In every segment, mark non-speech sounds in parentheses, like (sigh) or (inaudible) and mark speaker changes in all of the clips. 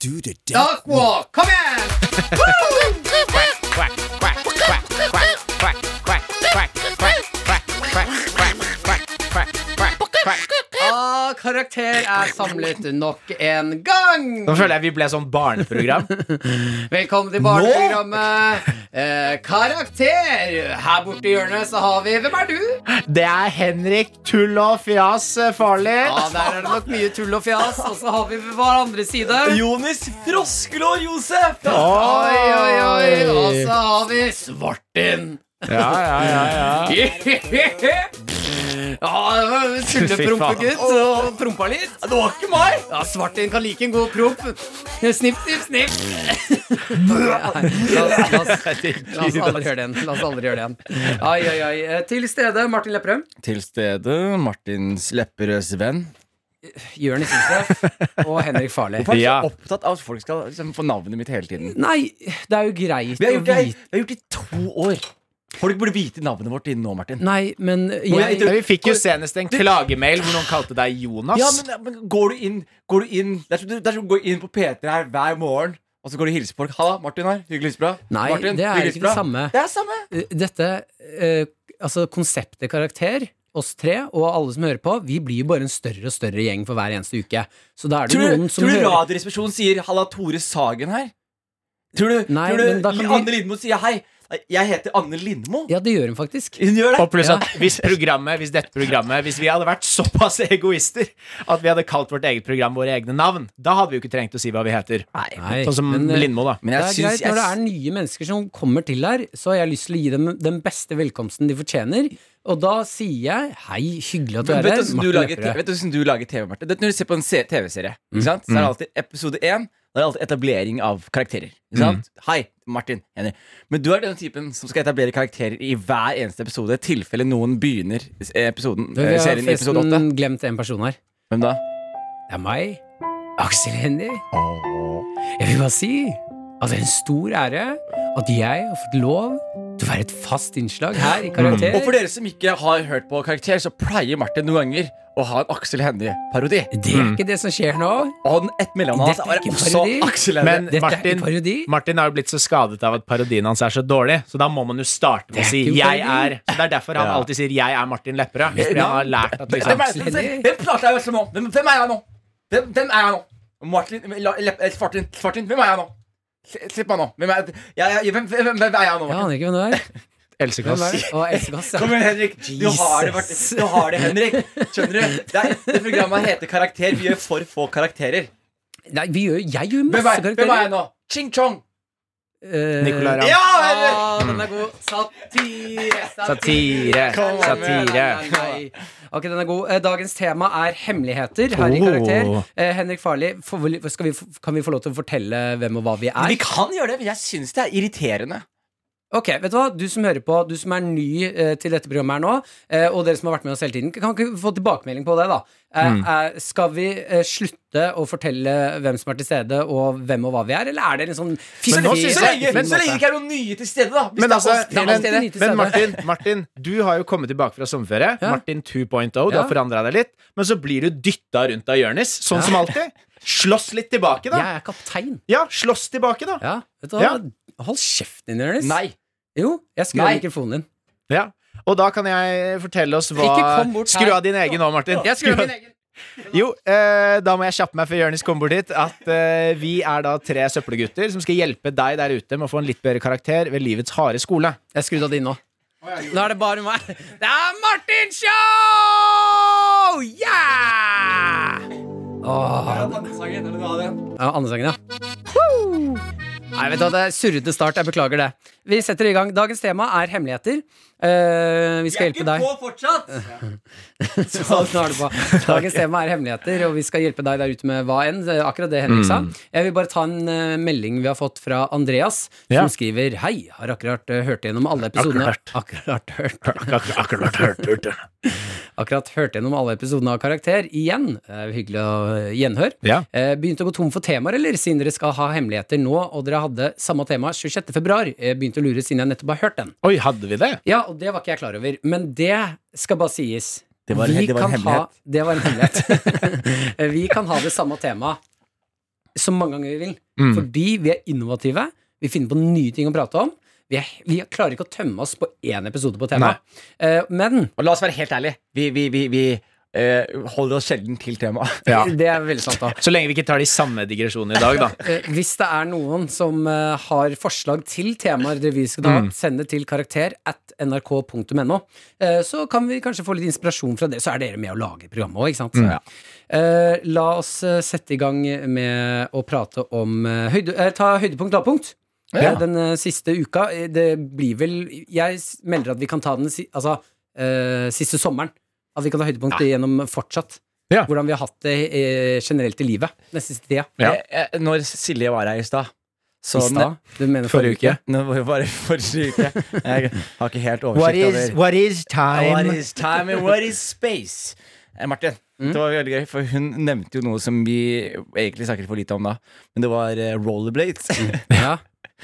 Speaker 1: do the death.
Speaker 2: Duck walk, kom igjen! Og karakter er samlet nok en gang.
Speaker 3: Nå føler jeg vi ble sånn barneprogram.
Speaker 2: Velkommen til barneprogrammet eh, Karakter. Her borte i hjørnet så har vi Hvem er du?
Speaker 3: Det er Henrik Tull og Fjas eh, Farlig.
Speaker 2: Ja, Der er det nok mye tull og fjas. Og så har vi ved hver andre side
Speaker 1: Jonis Froskelår Josef!
Speaker 2: Oi, oi, oi. Og så har vi Svartin.
Speaker 3: Ja, ja, ja, ja.
Speaker 2: Ja, tulleprompegutt og prompa litt.
Speaker 1: Det var ikke meg!
Speaker 2: Ja, Svartin kan like en god promp. Snipp, snipp, snipp. Ja, la, oss- la, oss- la oss aldri gjøre det igjen. La oss aldri gjøre det igjen. Ai, ai, ai. Eh, Til stede, Martin Lepperød.
Speaker 1: Til stede Martins Lepperøds venn.
Speaker 2: Jørnis Josef og Henrik Farley.
Speaker 1: Hvorfor er du
Speaker 3: Ja.
Speaker 1: så opptatt av at folk skal liksom, få navnet mitt hele tiden?
Speaker 2: Nei, det er jo greit
Speaker 1: Vi har
Speaker 2: å
Speaker 1: gjort det,
Speaker 2: vite
Speaker 1: vi har gjort det i to år. Folk burde vite navnet vårt innen nå, Martin.
Speaker 2: Nei, men
Speaker 1: jeg
Speaker 2: jeg
Speaker 3: Vi fikk jo senest en klagemail hvor noen kalte deg Jonas.
Speaker 1: Ja, men, men går du inn, går du inn Det er som du- det er som å gå inn på P3 her hver morgen, og så går du og hilser på folk. Halla, Martin her. Hyggelig å hilse på deg.
Speaker 2: Nei,
Speaker 1: Martin,
Speaker 2: det er ikke
Speaker 1: hyggelig å hilse
Speaker 2: det
Speaker 1: på deg.
Speaker 2: samme.
Speaker 1: Det er samme.
Speaker 2: Eh, Dette, eh, altså konseptet karakter, oss tre og alle som hører på, vi blir jo bare en større og større gjeng for hver eneste uke. Så da er det
Speaker 1: Tror du,
Speaker 2: noen som
Speaker 1: tror du
Speaker 2: hører
Speaker 1: Radioresepsjonen sier 'Halla, Tore Sagen' her? Tror du,
Speaker 2: Nei,
Speaker 1: tror du
Speaker 2: men da kan
Speaker 1: Li-
Speaker 2: vi-
Speaker 1: Anne Lindmo sier 'Hei, jeg heter Anne Lindmo'?
Speaker 2: Ja, det gjør hun faktisk.
Speaker 1: Hun gjør
Speaker 3: Og
Speaker 1: det.
Speaker 3: pluss at hvis programmet, hvis dette programmet Hvis vi hadde vært såpass egoister at vi hadde kalt vårt eget program våre egne navn, da hadde vi jo ikke trengt å si hva vi heter.
Speaker 2: Nei,
Speaker 3: Sånn som
Speaker 2: men, eh,
Speaker 3: Lindmo, da.
Speaker 1: Men jeg
Speaker 2: det er
Speaker 1: syns
Speaker 2: greit, Når det er
Speaker 1: jeg,
Speaker 2: nye mennesker som kommer til her, så har jeg lyst til å gi dem den beste velkomsten de fortjener. Og da sier jeg hei, hyggelig at du er
Speaker 1: Vet
Speaker 2: her.
Speaker 1: du hvordan du
Speaker 2: Martin
Speaker 1: lager
Speaker 2: Lepperød.
Speaker 1: te- vet du hvordan du lager TV, Marte? Det er Når du ser på en se- TV-serie, ikke sant? så er det alltid episode én. Da er det alltid etablering av karakterer. Ikke sant?
Speaker 2: Mm.
Speaker 1: Hei, Martin. Henry. Men du er den typen som skal etablere karakterer i hver eneste episode, i tilfelle noen begynner episoden,
Speaker 2: Du, Vi
Speaker 1: eh,
Speaker 2: har
Speaker 1: serien i episode åtte.
Speaker 2: forresten glemt en person her.
Speaker 1: Hvem da?
Speaker 2: Det er meg, Aksel Hennie. Jeg vil bare si at det er en stor ære at jeg har fått lov til å være et fast innslag her i Karakter.
Speaker 1: Og for dere som ikke har hørt på Karakter, så pleier Martin noen ganger å ha en Aksel Hennie-parodi.
Speaker 2: Det
Speaker 1: Mm.
Speaker 2: er ikke det som skjer nå.
Speaker 1: Og den ett mellomnavn
Speaker 2: Dette er
Speaker 1: er
Speaker 2: ikke
Speaker 1: også
Speaker 2: parodi.
Speaker 1: Aksel
Speaker 3: Men
Speaker 1: Hennie.
Speaker 2: Dette er
Speaker 3: Martin,
Speaker 2: ikke parodi.
Speaker 3: Martin har jo blitt så skadet av at parodien hans er så dårlig, så da må man jo starte med
Speaker 2: Det
Speaker 3: å
Speaker 2: er
Speaker 3: si
Speaker 2: ikke en
Speaker 3: 'jeg
Speaker 2: parodi.
Speaker 3: er'. Så Det er derfor han
Speaker 1: Ja.
Speaker 3: alltid sier 'jeg er Martin Lepperød'. Fordi
Speaker 1: Ja.
Speaker 3: han har lært at
Speaker 1: Hvem
Speaker 3: liksom
Speaker 1: er det som sier- hvem prater jeg som nå? Hvem, hvem er jeg nå? Hvem, hvem er jeg nå? Martin, la- Lepp- eh, Svartin, Svartin, hvem er jeg nå? S- Slipp meg nå. Hvem er, jeg, jeg, hvem, hvem, hvem er jeg
Speaker 2: Jeg
Speaker 1: nå? Martin?
Speaker 2: aner ikke hvem det er.
Speaker 3: Else
Speaker 2: Hvem er
Speaker 3: Kåss.
Speaker 2: det? Å, Else Kåss, ja.
Speaker 1: Kom igjen, Henrik. Du har, det, Martin. du har det, Henrik. Skjønner du? Det, er, det programmet heter Karakter. Vi gjør for få karakterer.
Speaker 2: Nei, vi gjør, jeg gjør
Speaker 1: Hvem
Speaker 2: masse
Speaker 1: er, hvem er jeg
Speaker 2: karakterer.
Speaker 1: nå? Ching-chong.
Speaker 2: Eh,
Speaker 3: Nicolai Ramm.
Speaker 1: Ja, Henrik!
Speaker 2: Ah, den er god. Satire,
Speaker 3: Satire.
Speaker 1: Kom igjen.
Speaker 3: Satire.
Speaker 2: Nei, nei, nei. Ok, den er god. Eh, Dagens tema er hemmeligheter her i
Speaker 3: Oh.
Speaker 2: Karakter. Eh, Henrik Farli, får vi- skal vi, f- kan vi få lov til å fortelle hvem og hva vi
Speaker 1: Vi
Speaker 2: er?
Speaker 1: kan gjøre det, men jeg syns det er irriterende.
Speaker 2: Ok, vet Du hva? Du som hører på, du som er ny eh, til dette programmet her nå, eh, og dere som har vært med oss hele tiden, kan ikke vi få tilbakemelding på det, da. Eh,
Speaker 3: Mm.
Speaker 2: eh, skal vi eh, slutte å fortelle hvem som er til stede, og hvem og hva vi er, eller er det en sånn
Speaker 1: Så
Speaker 2: fiffig
Speaker 3: nå
Speaker 1: lenge,
Speaker 3: synes
Speaker 1: så
Speaker 3: jeg-
Speaker 1: lenge,
Speaker 2: fin
Speaker 1: så lenge det
Speaker 2: måte?
Speaker 1: ikke er noen nye til stede, da. Hvis
Speaker 3: Men
Speaker 1: det er sånn-
Speaker 3: altså,
Speaker 1: oss- det er
Speaker 2: men-
Speaker 1: oss
Speaker 2: alltid
Speaker 1: til
Speaker 3: men,
Speaker 2: litt i
Speaker 3: men
Speaker 2: stedet.
Speaker 3: Martin, Martin, du har jo kommet tilbake fra sommerferie.
Speaker 2: Ja.
Speaker 3: Martin 2.0, du
Speaker 2: Ja.
Speaker 3: har forandra deg litt. Men så blir du dytta rundt av Jonis, sånn som alltid. Slåss litt tilbake, da.
Speaker 2: Jeg er kaptein.
Speaker 3: Ja, slåss tilbake, da.
Speaker 2: Ja, vet du hva?
Speaker 3: Ja.
Speaker 2: Hold kjeften din, Jonis.
Speaker 1: Nei.
Speaker 2: Jo, jeg skrur
Speaker 1: Nei.
Speaker 2: mikrofonen din.
Speaker 3: Ja. Og da kan jeg fortelle oss hva
Speaker 2: Ikke kom bort her.
Speaker 3: Skru av din egen nå, Martin.
Speaker 2: Jeg skrur av min
Speaker 3: egen. Jo, eh, da må jeg kjappe meg før Jonis kommer bort hit. At eh, vi er da tre søppelgutter som skal hjelpe deg der ute med å få en litt bedre karakter ved livets harde skole.
Speaker 2: Jeg skrudde av din nå. Nå er det bare meg. Det er Martin Show! Yeah! Åh.
Speaker 1: Nei.
Speaker 2: Ja, Andesangen, ja. Nei, vet du hva, Det er surrete start. Jeg beklager det. Vi setter i gang. Dagens tema er hemmeligheter. Eh, vi skal hjelpe deg.
Speaker 1: fortsatt!
Speaker 2: (laughs) Sånn har du på. Dagens tema er hemmeligheter, og vi skal hjelpe deg der ute med hva enn. Det er Akkurat det Henrik sa. Jeg vil bare ta en eh, melding vi har fått fra Andreas, som
Speaker 3: Ja.
Speaker 2: skriver Hei, har akkurat eh, hørt gjennom alle episodene Akkurat hørt
Speaker 3: Akkurat hørt, hørt det.
Speaker 2: Akkurat hørt gjennom alle episodene av Karakter igjen. Eh, hyggelig å eh, gjenhør.
Speaker 3: Ja.
Speaker 2: Eh, Begynte å gå tom for temaer, eller? Siden dere skal ha hemmeligheter nå, og dere hadde samme tema 26. februar. Eh, Begynte å lure siden jeg nettopp har hørt den.
Speaker 3: Oi, hadde vi det?
Speaker 2: Ja, og det var ikke jeg klar over. Men det skal bare sies.
Speaker 1: Det var-
Speaker 2: Vi
Speaker 1: det var en
Speaker 2: kan
Speaker 1: hemmelighet.
Speaker 2: Ha, det var en
Speaker 1: (laughs)
Speaker 2: hemmelighet. (laughs) Eh, vi kan ha det samme temaet så mange ganger vi vil.
Speaker 1: Mm.
Speaker 2: Fordi vi er innovative. Vi finner på nye ting å prate om. Vi, er, vi klarer ikke å tømme oss på én episode på temaet. Eh, men
Speaker 1: Og la oss være helt ærlige. Vi, vi, vi, vi eh, holder oss sjelden til temaet. (laughs)
Speaker 3: Ja.
Speaker 2: det er veldig sant, da.
Speaker 3: Så lenge vi ikke tar de samme digresjonene i dag, da.
Speaker 2: Eh, Hvis det er noen som eh, har forslag til temaer dere vi skal ta,
Speaker 1: Mm.
Speaker 2: send det til karakter at nrk.no. Eh, så kan vi kanskje få litt inspirasjon fra det. Så er dere med å lage programmet òg, ikke sant?
Speaker 1: Mm. Ja.
Speaker 2: Eh, la oss eh, sette i gang med å prate om eh, høyde, eh, Ta høydepunkt, lavpunkt.
Speaker 1: Ja.
Speaker 2: Eh, Den eh, siste uka. eh, Det blir vel Jeg s- melder at vi kan ta den si, altså, eh, siste sommeren. At vi kan ta høydepunkt gjennom fortsatt.
Speaker 3: Ja.
Speaker 2: Hvordan vi har hatt det eh, generelt i livet. Den siste tida.
Speaker 3: Ja.
Speaker 1: Jeg- jeg- Eh, når Silje var her i stad så
Speaker 2: I stad? Du mener
Speaker 3: Forrige uke.
Speaker 1: Nå var det bare (laughs) forrige uke. Jeg har ikke helt oversikt
Speaker 3: What is,
Speaker 1: over
Speaker 3: what is
Speaker 1: What
Speaker 3: time?
Speaker 1: is time and what is space? Eh, Martin,
Speaker 3: Mm?
Speaker 1: det var veldig gøy, for hun nevnte jo noe som vi egentlig snakket for lite om da. Men det var eh, rollerblades.
Speaker 3: Mm. (laughs)
Speaker 2: Ja.
Speaker 1: (laughs)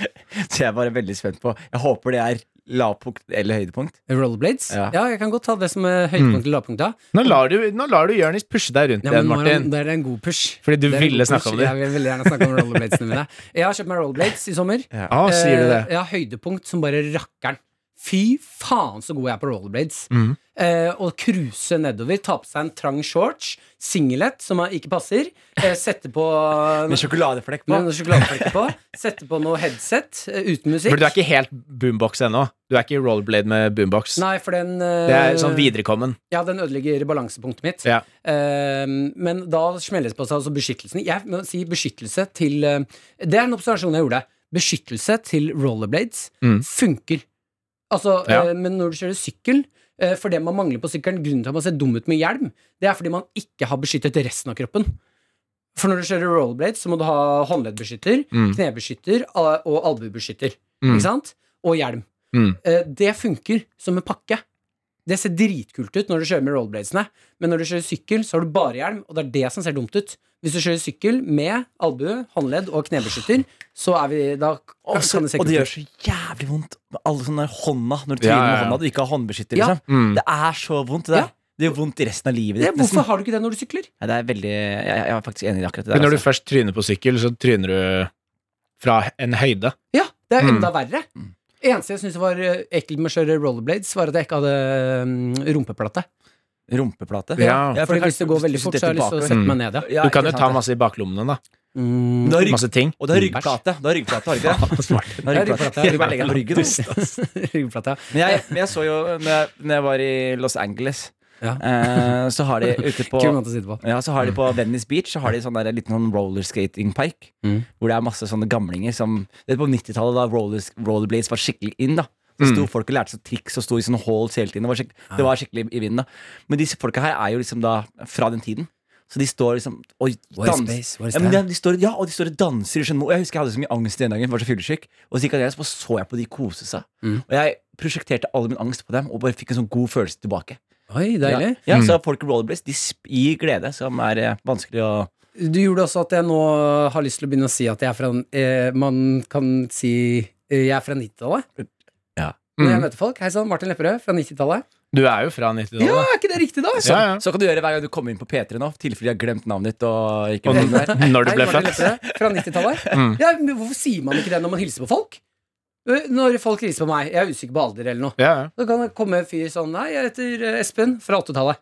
Speaker 1: Så jeg var veldig spent på. Jeg håper det er lavpunkt eller høydepunkt.
Speaker 2: Rollerblades? Ja.
Speaker 1: Ja.
Speaker 2: jeg kan godt ta det som er
Speaker 3: Mm.
Speaker 2: høydepunktet eller lavpunktet.
Speaker 3: Nå lar du, nå lar du Jonis pushe deg rundt
Speaker 2: Ja,
Speaker 3: igjen,
Speaker 2: men nå er det-
Speaker 3: Martin.
Speaker 2: det er en god push.
Speaker 3: Fordi du
Speaker 2: Det er en
Speaker 3: ville
Speaker 2: god
Speaker 3: snakke
Speaker 2: push.
Speaker 3: om det.
Speaker 2: Jeg vil veldig gjerne snakke om rollerbladesene mine. Jeg har kjøpt meg rollerblades i sommer.
Speaker 3: Å,
Speaker 1: Ja.
Speaker 3: Ah, sier du det?
Speaker 2: Eh, ja, høydepunkt som bare rakkeren. Fy faen så god jeg er på rollerblades.
Speaker 3: Mhm.
Speaker 2: Eh, å cruise nedover, ta på seg en trang shorts, singlet som ikke passer, eh,
Speaker 3: (laughs)
Speaker 2: sette på
Speaker 1: Med sjokoladeflekk
Speaker 2: (laughs)
Speaker 1: på.
Speaker 2: med noen sjokoladeflekker på, sette på noe headset eh, uten musikk.
Speaker 3: For du er ikke helt boombox ennå. Du er ikke i rollerblade med boombox.
Speaker 2: Nei, for den eh,
Speaker 3: Det
Speaker 1: øh,
Speaker 3: er sånn viderekommen.
Speaker 2: Ja, den ødelegger balansepunktet mitt.
Speaker 3: Ja.
Speaker 2: Eh, men da smelles det på seg altså beskyttelsen. Jeg må si beskyttelse til eh, Det er en observasjon jeg gjorde. Beskyttelse til rollerblades
Speaker 3: Mm.
Speaker 2: funker. Altså,
Speaker 3: Ja.
Speaker 2: eh, men når du kjører sykkel eh, for det man mangler på sykkelen, grunnen til at man ser dum ut med hjelm, det er fordi man ikke har beskyttet resten av kroppen. For når du kjører rollerblades, så må du ha håndleddbeskytter,
Speaker 3: Mm.
Speaker 2: knebeskytter al- og albuebeskytter.
Speaker 3: Mm.
Speaker 2: Ikke sant? Og hjelm.
Speaker 3: Mm.
Speaker 2: Eh, Det funker som en pakke. Det ser dritkult ut når du kjører med rollerbladesene, men når du kjører sykkel, så har du bare hjelm, og det er det som ser dumt ut. Hvis du kjører sykkel med albue, håndledd og knebeskytter, så er vi da
Speaker 1: Og, så,
Speaker 2: kan det se
Speaker 1: og det
Speaker 2: kult
Speaker 1: gjør
Speaker 2: ut.
Speaker 1: så jævlig vondt med alle sånne der hånda når du
Speaker 3: Ja,
Speaker 1: tviler
Speaker 3: ja, ja.
Speaker 1: med hånda du ikke har håndbeskytter.
Speaker 2: Ja.
Speaker 1: Liksom.
Speaker 3: Mm.
Speaker 1: Det er så vondt. Det, der.
Speaker 2: Ja.
Speaker 1: det gjør vondt i resten av livet
Speaker 2: Det,
Speaker 1: ditt. nesten.
Speaker 2: hvorfor har du ikke det når du sykler?
Speaker 1: Ja, det er veldig, jeg, jeg er faktisk enig i akkurat det
Speaker 3: Men
Speaker 1: der.
Speaker 3: når du
Speaker 1: altså.
Speaker 3: først tryner på sykkel, så tryner du fra en høyde.
Speaker 2: Ja, det er
Speaker 3: Mm.
Speaker 2: enda verre. Eneste jeg syntes var eh, ekkelt med å kjøre rollerblades, var at jeg ikke hadde mm, rumpeplate.
Speaker 1: altså. Rumpeplate.
Speaker 3: Ja.
Speaker 1: for
Speaker 2: Fordi hvis det går veldig
Speaker 1: hvis du
Speaker 2: fort, så har jeg lyst til å
Speaker 1: detter
Speaker 2: sette
Speaker 3: bakover.
Speaker 2: meg ned, ja.
Speaker 1: Ja,
Speaker 3: Du kan
Speaker 1: ikke
Speaker 3: jo
Speaker 1: sant,
Speaker 3: ta
Speaker 1: det.
Speaker 3: masse i baklommene, da.
Speaker 2: Mm.
Speaker 1: Du har rygg-
Speaker 3: Masse
Speaker 1: (laughs)
Speaker 3: ting.
Speaker 1: Og du har ryggplate. Du har ryggplate, har du ikke det?
Speaker 3: Smart.
Speaker 1: Du har
Speaker 2: Ja,
Speaker 1: ryggplate.
Speaker 2: ryggplate, ja.
Speaker 1: Du bare legger den på ryggen.
Speaker 2: Ryggplate,
Speaker 1: Men jeg, men jeg så jo når jeg, når jeg var i Los Angeles,
Speaker 2: ja. ja.
Speaker 1: eh, så har de ute på
Speaker 2: Kul måte å si det på.
Speaker 1: ja, så har de på Venice Beach Så har de sånn der, en liten sånn rollerskatingpark.
Speaker 2: Mm.
Speaker 1: Hvor det er masse sånne gamlinger som Det er På 90-tallet, da rollers, rollerblades var skikkelig inn, da. Så
Speaker 2: Mm.
Speaker 1: sto folk og lærte seg triks og sto i sånne halls hele tiden. Det var, skikk-
Speaker 2: Ah.
Speaker 1: det var skikkelig i vinden, da. Men disse folka her er jo liksom da fra den tiden. Så de står liksom og
Speaker 2: What is
Speaker 1: dans-
Speaker 2: space? What is
Speaker 1: ja, men
Speaker 2: time?
Speaker 1: de, de står, ja, og de står og danser. skjønner du. Jeg husker jeg hadde så mye angst den dagen. for jeg Var så fyllesyk. Og så gikk jeg ned, så så jeg på de kose seg.
Speaker 2: Mm.
Speaker 1: Og jeg prosjekterte all min angst på dem og bare fikk en sånn god følelse tilbake.
Speaker 2: Oi, deilig.
Speaker 1: Ja, ja, så folk i rollerblades de sp- gir glede, som er eh, vanskelig å
Speaker 2: Du gjorde også at jeg nå har lyst til å begynne å si at jeg er fra eh, Man kan si eh, jeg er fra 90-tallet.
Speaker 1: Ja.
Speaker 2: Når jeg
Speaker 3: Mm.
Speaker 2: møter folk. Hei sann, Martin Lepperød fra 90-tallet.
Speaker 3: Du er jo fra
Speaker 2: Ja,
Speaker 3: 90-tallet.
Speaker 2: er ikke det riktig, da?
Speaker 3: Ja, ja.
Speaker 1: Så kan du gjøre hver gang du kommer inn på P3 nå, i tilfelle de har glemt navnet ditt. Og ikke
Speaker 3: Og
Speaker 1: vet hvem det er.
Speaker 3: n- når du
Speaker 2: Hei,
Speaker 3: ble
Speaker 2: Martin
Speaker 1: liksom-
Speaker 3: født.
Speaker 2: Lepperød fra 90-tallet.
Speaker 3: (laughs) Mm.
Speaker 2: Ja, men hvorfor sier man ikke det når man hilser på folk? Eh, Når folk hilser på meg, jeg er usikker på alder eller noe,
Speaker 3: Ja, ja.
Speaker 2: da kan det komme en fyr sånn Hei, jeg heter eh, Espen fra 80-tallet.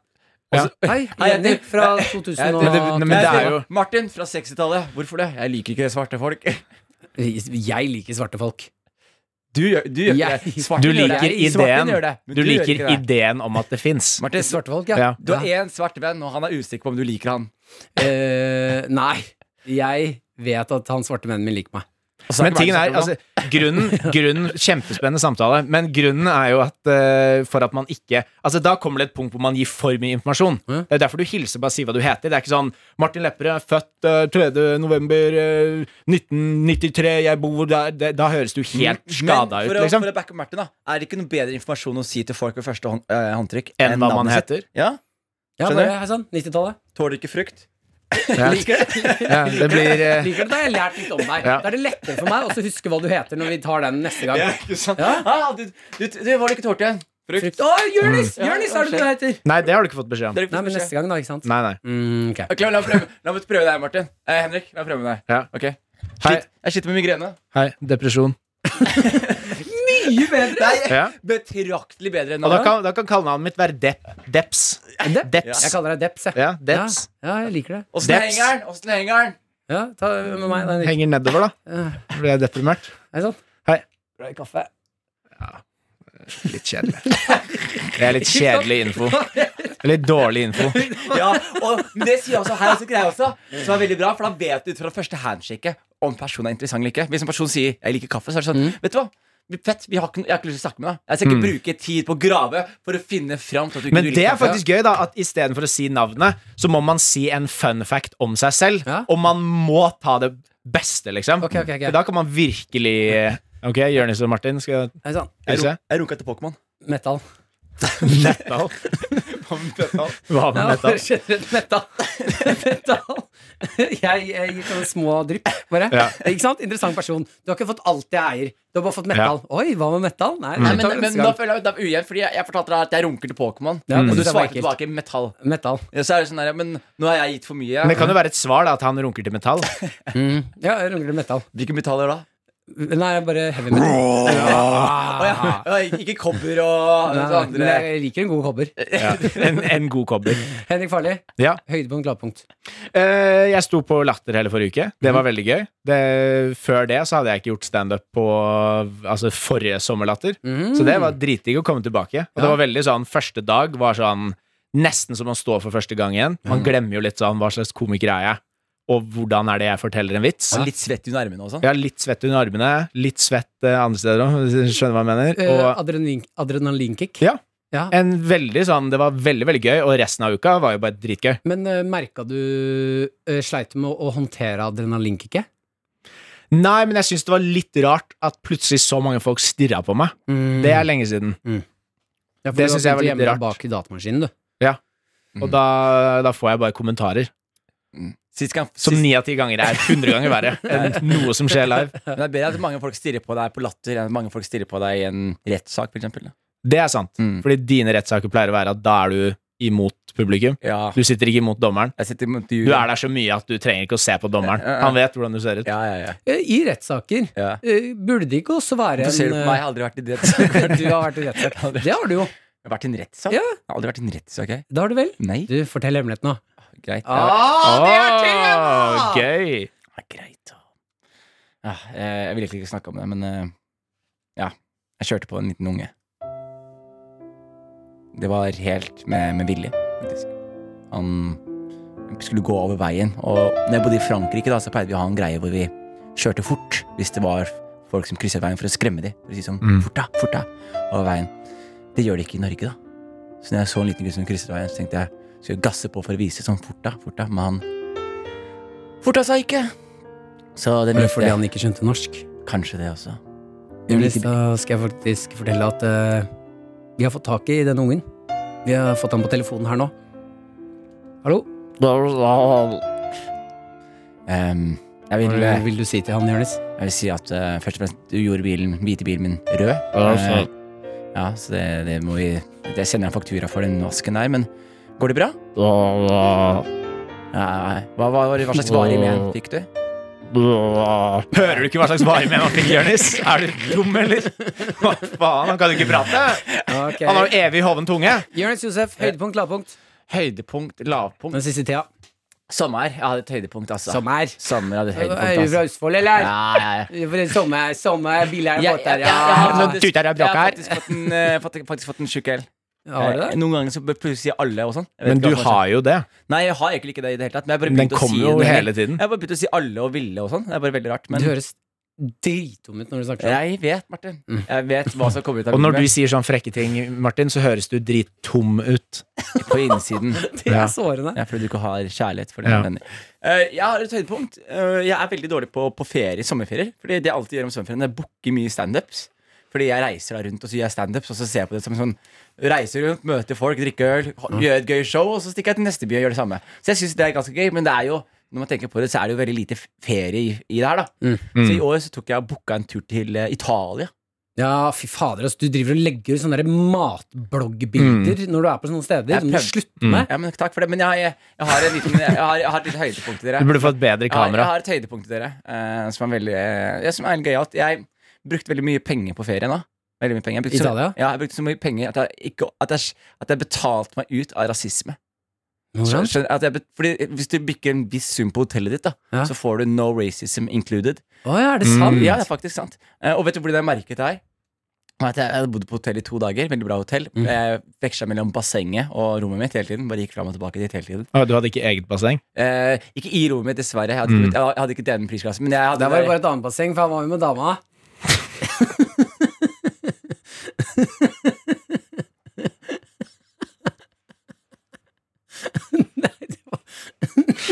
Speaker 3: Ja.
Speaker 2: Og så, Hei,
Speaker 1: Hei, jeg
Speaker 2: Jenny
Speaker 1: heter-
Speaker 2: fra
Speaker 1: Jeg
Speaker 2: 2000
Speaker 1: heter-
Speaker 2: og
Speaker 3: Men det- men det er jo-
Speaker 1: Martin fra 60-tallet. Hvorfor det? Jeg liker ikke svarte folk. (laughs)
Speaker 2: Jeg liker svarte folk.
Speaker 1: Du gjør, du gjør ikke
Speaker 2: Jeg-
Speaker 1: det. Svarte
Speaker 3: Du
Speaker 1: gjør det.
Speaker 3: liker
Speaker 1: Svarte
Speaker 3: ideen.
Speaker 1: gjør det, men
Speaker 3: Du
Speaker 1: gjør
Speaker 3: liker
Speaker 1: ikke det.
Speaker 3: ideen om at det fins.
Speaker 1: Martin,
Speaker 2: Svarte folk,
Speaker 3: Ja.
Speaker 2: ja.
Speaker 1: du har én svart venn, og han er usikker på om du liker han.
Speaker 2: Eh, nei, jeg vet at han svarte vennen min liker meg.
Speaker 1: Altså,
Speaker 3: Men
Speaker 1: hva det
Speaker 3: tingen er,
Speaker 1: vi snakker om
Speaker 3: altså,
Speaker 1: (laughs)
Speaker 3: grunnen, grunnen, Kjempespennende samtale, men grunnen er jo at eh, for at man ikke Altså Da kommer det et punkt hvor man gir for mye informasjon.
Speaker 2: Ja.
Speaker 3: Det er derfor du hilser bare si hva du heter. Det er ikke sånn 'Martin Lepperød, født eh, 3. november eh, 1993, jeg bor der' det, Da høres du helt skada
Speaker 1: Men
Speaker 3: ut,
Speaker 1: for å,
Speaker 3: liksom.
Speaker 1: For å backe opp Martin, da. Er det ikke noe bedre informasjon å si til folk ved første hånd, eh, håndtrykk
Speaker 3: Enn hva man
Speaker 1: navnet sitt?
Speaker 3: heter.
Speaker 1: (laughs) Ja?
Speaker 2: Ja,
Speaker 1: Skjønner?
Speaker 2: bare, hei sann, 90-tallet.
Speaker 1: Tåler du ikke frukt?
Speaker 3: Ja.
Speaker 1: Liker du det?
Speaker 3: Ja, det blir eh,
Speaker 1: (laughs)
Speaker 2: Liker du det? Da har jeg lært litt om deg.
Speaker 3: Ja.
Speaker 2: Da er det lettere for meg også å huske hva du heter når vi tar den neste gang.
Speaker 1: (laughs) Ja, ikke sant?
Speaker 2: Ja.
Speaker 1: Ah, du, du, du, var det ikke tålte igjen? Frukt.
Speaker 2: Frykt. Å, Jonis!
Speaker 1: Mm.
Speaker 2: Jonis er det du heter!
Speaker 3: Nei, det har du ikke fått beskjed om.
Speaker 1: Det er ikke
Speaker 2: Nei, men
Speaker 1: beskjed.
Speaker 2: neste gang, da, ikke sant?
Speaker 3: Nei, nei.
Speaker 2: Mm, ok.
Speaker 1: Ok, la, meg prøve, la meg prøve deg, Martin. Eh, Henrik, la meg prøve med deg.
Speaker 3: Ja.
Speaker 1: Ok.
Speaker 3: Hei.
Speaker 1: Shit, jeg sitter med migrene.
Speaker 3: Hei. Depresjon.
Speaker 2: Mye bedre!
Speaker 1: Nei,
Speaker 3: Ja.
Speaker 1: Betraktelig bedre enn
Speaker 3: Og da
Speaker 1: Nara.
Speaker 3: kan, da kan kallenavnet mitt være Depp. Deps.
Speaker 2: Eh, Depp?
Speaker 3: Deps.
Speaker 2: Jeg kaller deg Deps, jeg.
Speaker 3: Ja, Deps.
Speaker 2: Ja, ja, jeg liker det.
Speaker 1: Åssen
Speaker 3: Deps.
Speaker 1: henger den? Åssen henger den?
Speaker 2: Ja, ta med meg den.
Speaker 3: Henger nedover, da.
Speaker 2: Ja,
Speaker 3: Blir jeg deprimert?
Speaker 2: Er det sant?
Speaker 3: Hei.
Speaker 2: Bra i kaffe.
Speaker 3: Litt kjedelig. Det er litt kjedelig info. Litt dårlig info.
Speaker 1: Ja, og men det sier også her også greier også, som er veldig bra, for da vet du ut fra første handshake om personen er interessant eller ikke. Hvis en person sier 'jeg liker kaffe', så er det sånn
Speaker 3: Mm.
Speaker 1: Vet du hva? Vi- Fett, vi har ikke, jeg har ikke lyst til å snakke med deg. Jeg skal ikke bruke tid på å grave for å finne fram til at du ikke
Speaker 3: Men
Speaker 1: du
Speaker 3: det
Speaker 1: liker
Speaker 3: er
Speaker 1: kaffe.
Speaker 3: faktisk gøy, da, at istedenfor å si navnet, så må man si en fun fact om seg selv.
Speaker 2: Ja.
Speaker 3: Og man må ta det beste, liksom.
Speaker 2: Ok, ok, ok.
Speaker 3: For Da kan man virkelig eh, Ok, Jonis og Martin skal
Speaker 2: Er det sant?
Speaker 1: Jeg,
Speaker 3: hilse.
Speaker 1: ru- jeg runka til Pokémon.
Speaker 3: Mm.
Speaker 2: Metal.
Speaker 3: Nettal. (laughs) Hva med
Speaker 2: Ja,
Speaker 3: nettal?
Speaker 2: (laughs) generelt metal. metal. Jeg, jeg gir sånne små drypp, bare.
Speaker 3: Ja.
Speaker 2: Ikke sant? Interessant person. Du har ikke fått alt jeg eier. Du har bare fått metal. Oi, hva med metal? Nei,
Speaker 3: Mm.
Speaker 1: Nei,
Speaker 2: vi tar det
Speaker 1: men, men
Speaker 2: neste
Speaker 1: da
Speaker 2: gang.
Speaker 1: føler jeg meg ujevn, fordi jeg, jeg fortalte deg at jeg runker til Pokémon.
Speaker 2: Ja,
Speaker 3: Mm.
Speaker 2: det
Speaker 1: og du
Speaker 2: synes jeg var
Speaker 1: svarte
Speaker 2: ekkelt.
Speaker 1: tilbake metall.
Speaker 2: Metal.
Speaker 1: Ja, så er det sånn der, men nå har jeg gitt for mye.
Speaker 3: Men det kan jo være et svar, da, at han runker til
Speaker 2: (laughs)
Speaker 3: metall.
Speaker 2: Ja, jeg runger metal.
Speaker 1: Hvilke metaller da?
Speaker 2: Nei, jeg er bare heavy metal.
Speaker 3: Ah,
Speaker 1: Å ja. ja, Ikke kobber og
Speaker 2: Nei,
Speaker 1: og så
Speaker 2: men
Speaker 1: andre.
Speaker 2: jeg liker en god kobber.
Speaker 3: Ja. En, en god kobber.
Speaker 2: Henrik Farli,
Speaker 3: Ja.
Speaker 2: høydepunkt, lavpunkt.
Speaker 3: Eh, jeg sto på Latter hele forrige uke. Det
Speaker 1: Mhm.
Speaker 3: var veldig gøy. Det, før det så hadde jeg ikke gjort standup på altså, forrige sommerlatter.
Speaker 1: Mhm.
Speaker 3: Så det var dritdigg å komme tilbake. Og det var veldig sånn Første dag var sånn nesten som å stå for første gang igjen. Man glemmer jo litt sånn hva slags komiker er jeg, og hvordan er det jeg forteller en vits.
Speaker 1: Og litt svett under armene og sånn.
Speaker 3: Jeg har litt svett under armene, litt svett eh, andre steder òg, hvis du skjønner hva jeg
Speaker 2: Eh,
Speaker 3: mener. Og
Speaker 2: adrenalin- Adrenalinkick.
Speaker 3: Ja.
Speaker 2: Ja.
Speaker 3: en veldig sånn, Det var veldig, veldig gøy, og resten av uka var jo bare dritgøy.
Speaker 2: Men uh, merka du eh, Sleit du med å, å håndtere adrenalinkicket?
Speaker 3: Nei, men jeg syns det var litt rart at plutselig så mange folk stirra på meg. Det er lenge siden.
Speaker 2: Ja, for
Speaker 3: det
Speaker 2: du har
Speaker 3: synes jeg var
Speaker 2: begynt å
Speaker 3: litt
Speaker 2: gjemme deg
Speaker 3: rart.
Speaker 2: Bak i datamaskinen, du.
Speaker 3: Og da, da får jeg bare kommentarer.
Speaker 1: Sist gang,
Speaker 3: Som
Speaker 1: sist,
Speaker 3: ni av ti ganger er hundre ganger verre (laughs) enn noe som skjer live.
Speaker 1: men det er bedre at mange folk stirrer på deg på latter enn at mange folk stirrer på deg i en rettssak, for eksempel. da.
Speaker 3: Det er sant.
Speaker 1: Mm.
Speaker 3: Fordi dine rettssaker pleier å være at da er du imot publikum.
Speaker 1: Ja.
Speaker 3: Du sitter ikke imot dommeren.
Speaker 1: Jeg sitter mot
Speaker 3: Du er der så mye at du trenger ikke å se på dommeren. Han vet hvordan du ser ut.
Speaker 1: Ja, ja, ja.
Speaker 2: Eh, I rettssaker
Speaker 1: ja.
Speaker 2: eh, burde det ikke også være
Speaker 1: Hvorfor ser du
Speaker 2: en
Speaker 1: på meg? Jeg har aldri vært i en
Speaker 2: eh, (laughs)
Speaker 1: (laughs) rettssak.
Speaker 2: Du har vært i rettssak.
Speaker 1: Aldri.
Speaker 2: Det har du jo.
Speaker 1: Jeg har vært i en rettssak?
Speaker 2: Ja.
Speaker 1: Jeg har aldri vært i en rettssak, jeg.
Speaker 2: Det har du vel?
Speaker 1: Nei.
Speaker 2: Du, fortell hemmeligheten nå.
Speaker 1: Greit.
Speaker 2: Ah,
Speaker 3: Åh, gøy!
Speaker 1: Ja, greit. da. Ja, eh, jeg ville egentlig ikke snakke om det, men eh, ja. Jeg kjørte på en liten unge. Det var helt med, med vilje, faktisk. Han skulle gå over veien, og når jeg bodde i Frankrike, da, så pleide vi å ha en greie hvor vi kjørte fort hvis det var folk som krysset veien for å skremme dem. For å si sånn
Speaker 3: Mm.
Speaker 1: fort, da, fort, da, over veien. Det gjør de ikke i Norge, da. Så når jeg så en liten gutt som krysset veien, så tenkte jeg skal jeg gasse på for å vise sånn fort, da, fort, da. Men han forta seg ikke. Så den
Speaker 2: Var det fordi
Speaker 1: hvite
Speaker 2: han ikke skjønte norsk?
Speaker 1: Kanskje det også. Den
Speaker 2: Jonis,
Speaker 1: hvite,
Speaker 2: da skal jeg faktisk fortelle at eh, vi har fått tak i denne ungen. Vi har fått han på telefonen her nå. Hallo?
Speaker 1: Ehm, jeg, vil,
Speaker 2: Hva
Speaker 1: jeg
Speaker 2: vil du si til han, Jonis?
Speaker 1: vil si at eh, først og fremst, du gjorde bilen, hvite bilen min rød. Eh, ja, så det, det må vi Det sender jeg en faktura for den vasken der, men går det bra? Nei, hva, hva, hva slags varer med den fikk du?
Speaker 3: Hører du ikke hva slags varme han fikk, Jonis? Er du dum, eller? Hva faen, han kan jo ikke prate!
Speaker 2: Ok.
Speaker 3: Han har jo evig hoven tunge.
Speaker 2: Jonis Josef, høydepunkt, lavpunkt.
Speaker 1: Høydepunkt, lavpunkt.
Speaker 2: Den siste tida.
Speaker 1: Sommer. Jeg hadde et høydepunkt, altså.
Speaker 2: Sommer.
Speaker 1: Sommer hadde et
Speaker 2: Er du
Speaker 1: høydepunkt,
Speaker 2: fra
Speaker 1: altså.
Speaker 2: Østfold, eller?
Speaker 1: Ja, ja, ja.
Speaker 2: For det er Sommer, sommer, biler,
Speaker 1: Ja,
Speaker 2: båter,
Speaker 1: ja, ja, ja,
Speaker 3: Noen
Speaker 1: ja.
Speaker 2: ja.
Speaker 3: tuter og
Speaker 1: Jeg
Speaker 3: bråk
Speaker 1: har
Speaker 3: her.
Speaker 1: faktisk fått en, eh, fått- faktisk fått en tjukk L.
Speaker 2: Har du
Speaker 1: Eh,
Speaker 2: det?
Speaker 1: Noen ganger så plutselig sier alle og sånn. Jeg vet
Speaker 3: Men
Speaker 1: ikke
Speaker 3: du
Speaker 1: hva som er
Speaker 3: har jo det.
Speaker 1: sånn. Nei, jeg har egentlig ikke det i det hele tatt. Men jeg har bare
Speaker 3: Den
Speaker 1: begynt å si
Speaker 3: kommer jo
Speaker 1: det.
Speaker 3: hele tiden.
Speaker 1: Jeg har bare begynt å si alle og ville og sånn. Det er bare veldig rart. Men
Speaker 2: Du høres dritdum ut når du snakker sånn.
Speaker 1: Jeg vet, Martin. Jeg vet hva som kommer ut av
Speaker 3: Mm. Og når du
Speaker 1: (laughs) munnen
Speaker 3: sier sånne frekke ting, Martin, så høres du drittom ut.
Speaker 1: min på innsiden.
Speaker 2: Det
Speaker 3: Ja.
Speaker 2: er sårende.
Speaker 1: (laughs) Ja, fordi du ikke har kjærlighet for dine
Speaker 3: Ja.
Speaker 1: venner. Eh, jeg har et høydepunkt. Eh, jeg er veldig dårlig på, på ferie, sommerferier. Fordi det jeg alltid gjør om sommerferien, er å booke mye standups. Fordi jeg reiser da rundt og så gjør jeg standups, og så ser jeg på det som en sånn Reiser rundt, møter folk, drikker øl, ha- gjør et gøy show, og så stikker jeg til neste by og gjør det samme. Så jeg syns det er ganske gøy, men det er jo når man tenker på det, så er det jo veldig lite f- ferie i, i det her, da.
Speaker 3: Mm.
Speaker 1: Så i år så tok jeg og booka en tur til eh, Italia.
Speaker 2: Ja, fy fader, altså, du driver og legger ut sånne der matbloggbilder når du er på sånne steder.
Speaker 1: Jeg
Speaker 2: Det må
Speaker 1: prøv-
Speaker 2: du slutte med.
Speaker 1: Ja, men Takk for det. Men jeg, har- jeg, jeg har en liten Jeg har, jeg har et lite høydepunkt til dere.
Speaker 3: Du burde få et bedre
Speaker 1: Jeg har, jeg
Speaker 3: kamera.
Speaker 1: har et høydepunkt til dere, eh, som er veldig eh, ja, Som er litt gøyalt. Jeg brukte veldig mye penger på ferie nå. Veldig mye penger. Jeg brukte så,
Speaker 2: Italia?
Speaker 1: ja, jeg brukte så mye penger at jeg, ikke, at jeg, at jeg betalte meg ut av rasisme.
Speaker 2: Hvordan?
Speaker 1: Skjønner- skjønner- At jeg, bet- fordi Hvis du bikker en viss sum på hotellet ditt, da,
Speaker 2: Ja.
Speaker 1: så får du no racism included.
Speaker 2: Å ja, er det sant?
Speaker 1: Ja, det er faktisk sant. Eh, og vet du hvordan jeg merket det her? Det var at Jeg jeg hadde bodd på hotell i to dager. Veldig bra hotell.
Speaker 2: Mm.
Speaker 1: Jeg veksla mellom bassenget og rommet mitt hele tiden. Bare gikk fram og tilbake dit hele tiden.
Speaker 3: Å, Du hadde ikke eget basseng?
Speaker 1: Eh, ikke i rommet mitt, dessverre. Jeg hadde,
Speaker 3: Mm.
Speaker 1: ikke- jeg hadde ikke den prisklassen. Men jeg hadde
Speaker 2: Der var det bare et annet basseng, for han var jo med dama. (laughs) Nei, det var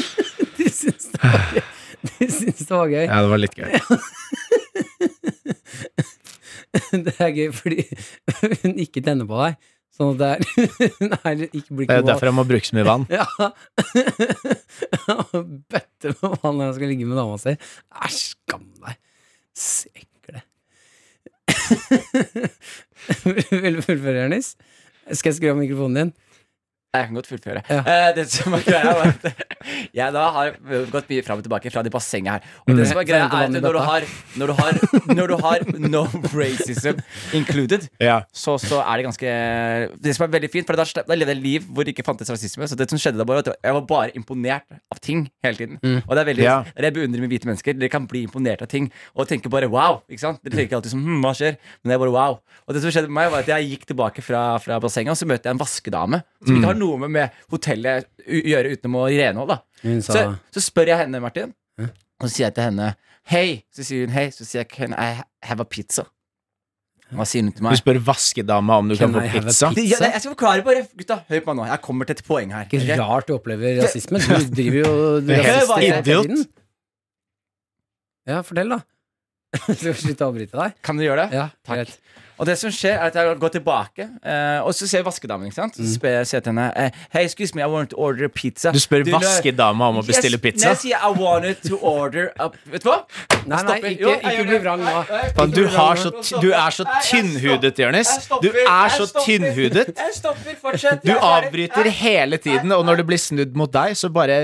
Speaker 2: (laughs) De syns det var gøy. De syns det var gøy.
Speaker 3: Ja, det var litt gøy.
Speaker 2: (laughs) Det er gøy fordi hun ikke tenner på deg. Sånn at det er (laughs) Hun er ikke
Speaker 3: (laughs) Det
Speaker 2: blir ikke
Speaker 3: er jo derfor jeg må bruke så mye vann.
Speaker 2: Ja. (laughs) Bøtte med vann når han skal ligge med dama si. Æsj, skam deg. Sekle. (laughs) Vil du fullføre, Jonis? Skal jeg skru av mikrofonen din?
Speaker 1: Nei, Jeg kan godt fullføre.
Speaker 2: Ja.
Speaker 1: Eh, det som er greia var at (laughs) Jeg da har gått mye fram og tilbake fra det bassenget her. Og det som er greia er at når du har, når du har, når du har no racism included
Speaker 3: Ja.
Speaker 1: så, så er det ganske Det som er veldig fint, for da, sl- da levde jeg et liv hvor det ikke fantes rasisme. Så det som skjedde da bare var at Jeg var bare imponert av ting hele tiden. Og det er veldig
Speaker 3: Ja.
Speaker 1: det er det jeg beundrer med hvite mennesker. Dere kan bli imponert av ting og tenke bare wow. ikke sant? Dere tenker ikke alltid sånn hm, hva skjer? Men det er bare wow. Og det som skjedde med meg, var at jeg gikk tilbake fra, fra bassenget, og så møtte jeg en vaskedame som ikke har noe med, med hotellet å gjøre utenom å renholde. da.
Speaker 2: Hun
Speaker 1: Så,
Speaker 2: sa
Speaker 1: så spør jeg henne, Martin, og så sier jeg til henne hei. Så sier hun hei. Så sier jeg can I have a pizza? Hva sier hun til meg?
Speaker 3: Du spør vaskedama om du
Speaker 2: Can
Speaker 3: kan få
Speaker 2: I have a
Speaker 3: pizza.
Speaker 2: pizza?
Speaker 1: Det- Ja, det- jeg skal forklare bare, gutta. Hør på meg nå. Jeg kommer til et poeng her.
Speaker 2: Ikke
Speaker 1: ok?
Speaker 2: rart du opplever rasisme. Du driver jo (laughs) du
Speaker 3: Det er
Speaker 1: helt
Speaker 2: rasister hele
Speaker 3: idiot.
Speaker 2: tiden. Ja, fortell, da. Du (laughs) skal slutte å avbryte deg.
Speaker 1: Kan du gjøre det?
Speaker 2: Ja,
Speaker 1: Takk.
Speaker 2: greit.
Speaker 1: Og det som skjer, er at jeg går tilbake, eh, og så ser jeg vaskedamen. ikke sant? Så spør jeg sier jeg til henne eh, Hey, excuse me, I want to order a pizza.
Speaker 3: Mm. Du spør
Speaker 1: nå-
Speaker 3: vaskedama om å bestille
Speaker 1: Yes, Nei,
Speaker 3: pizza.
Speaker 1: jeg sier I wanted to order a Vet du hva?
Speaker 2: Nei, nei,
Speaker 1: Stopper. Jo,
Speaker 2: ikke,
Speaker 1: jeg
Speaker 2: ikke
Speaker 1: gjør
Speaker 2: bli
Speaker 1: det.
Speaker 2: vrang nå.
Speaker 1: Nei, jeg-
Speaker 3: Faen, du,
Speaker 1: ikke bli
Speaker 3: har
Speaker 1: vrang
Speaker 3: så,
Speaker 1: nå.
Speaker 3: t- du er så
Speaker 1: Nei, jeg
Speaker 3: tynnhudet,
Speaker 1: stopper.
Speaker 3: Jonis.
Speaker 1: Jeg stopper.
Speaker 3: Du er så
Speaker 1: Jeg stopper.
Speaker 3: tynnhudet.
Speaker 1: Jeg stopper. Fortsett.
Speaker 3: Du
Speaker 1: Jeg er ferdig.
Speaker 3: avbryter hele tiden, og når det blir snudd mot deg, så bare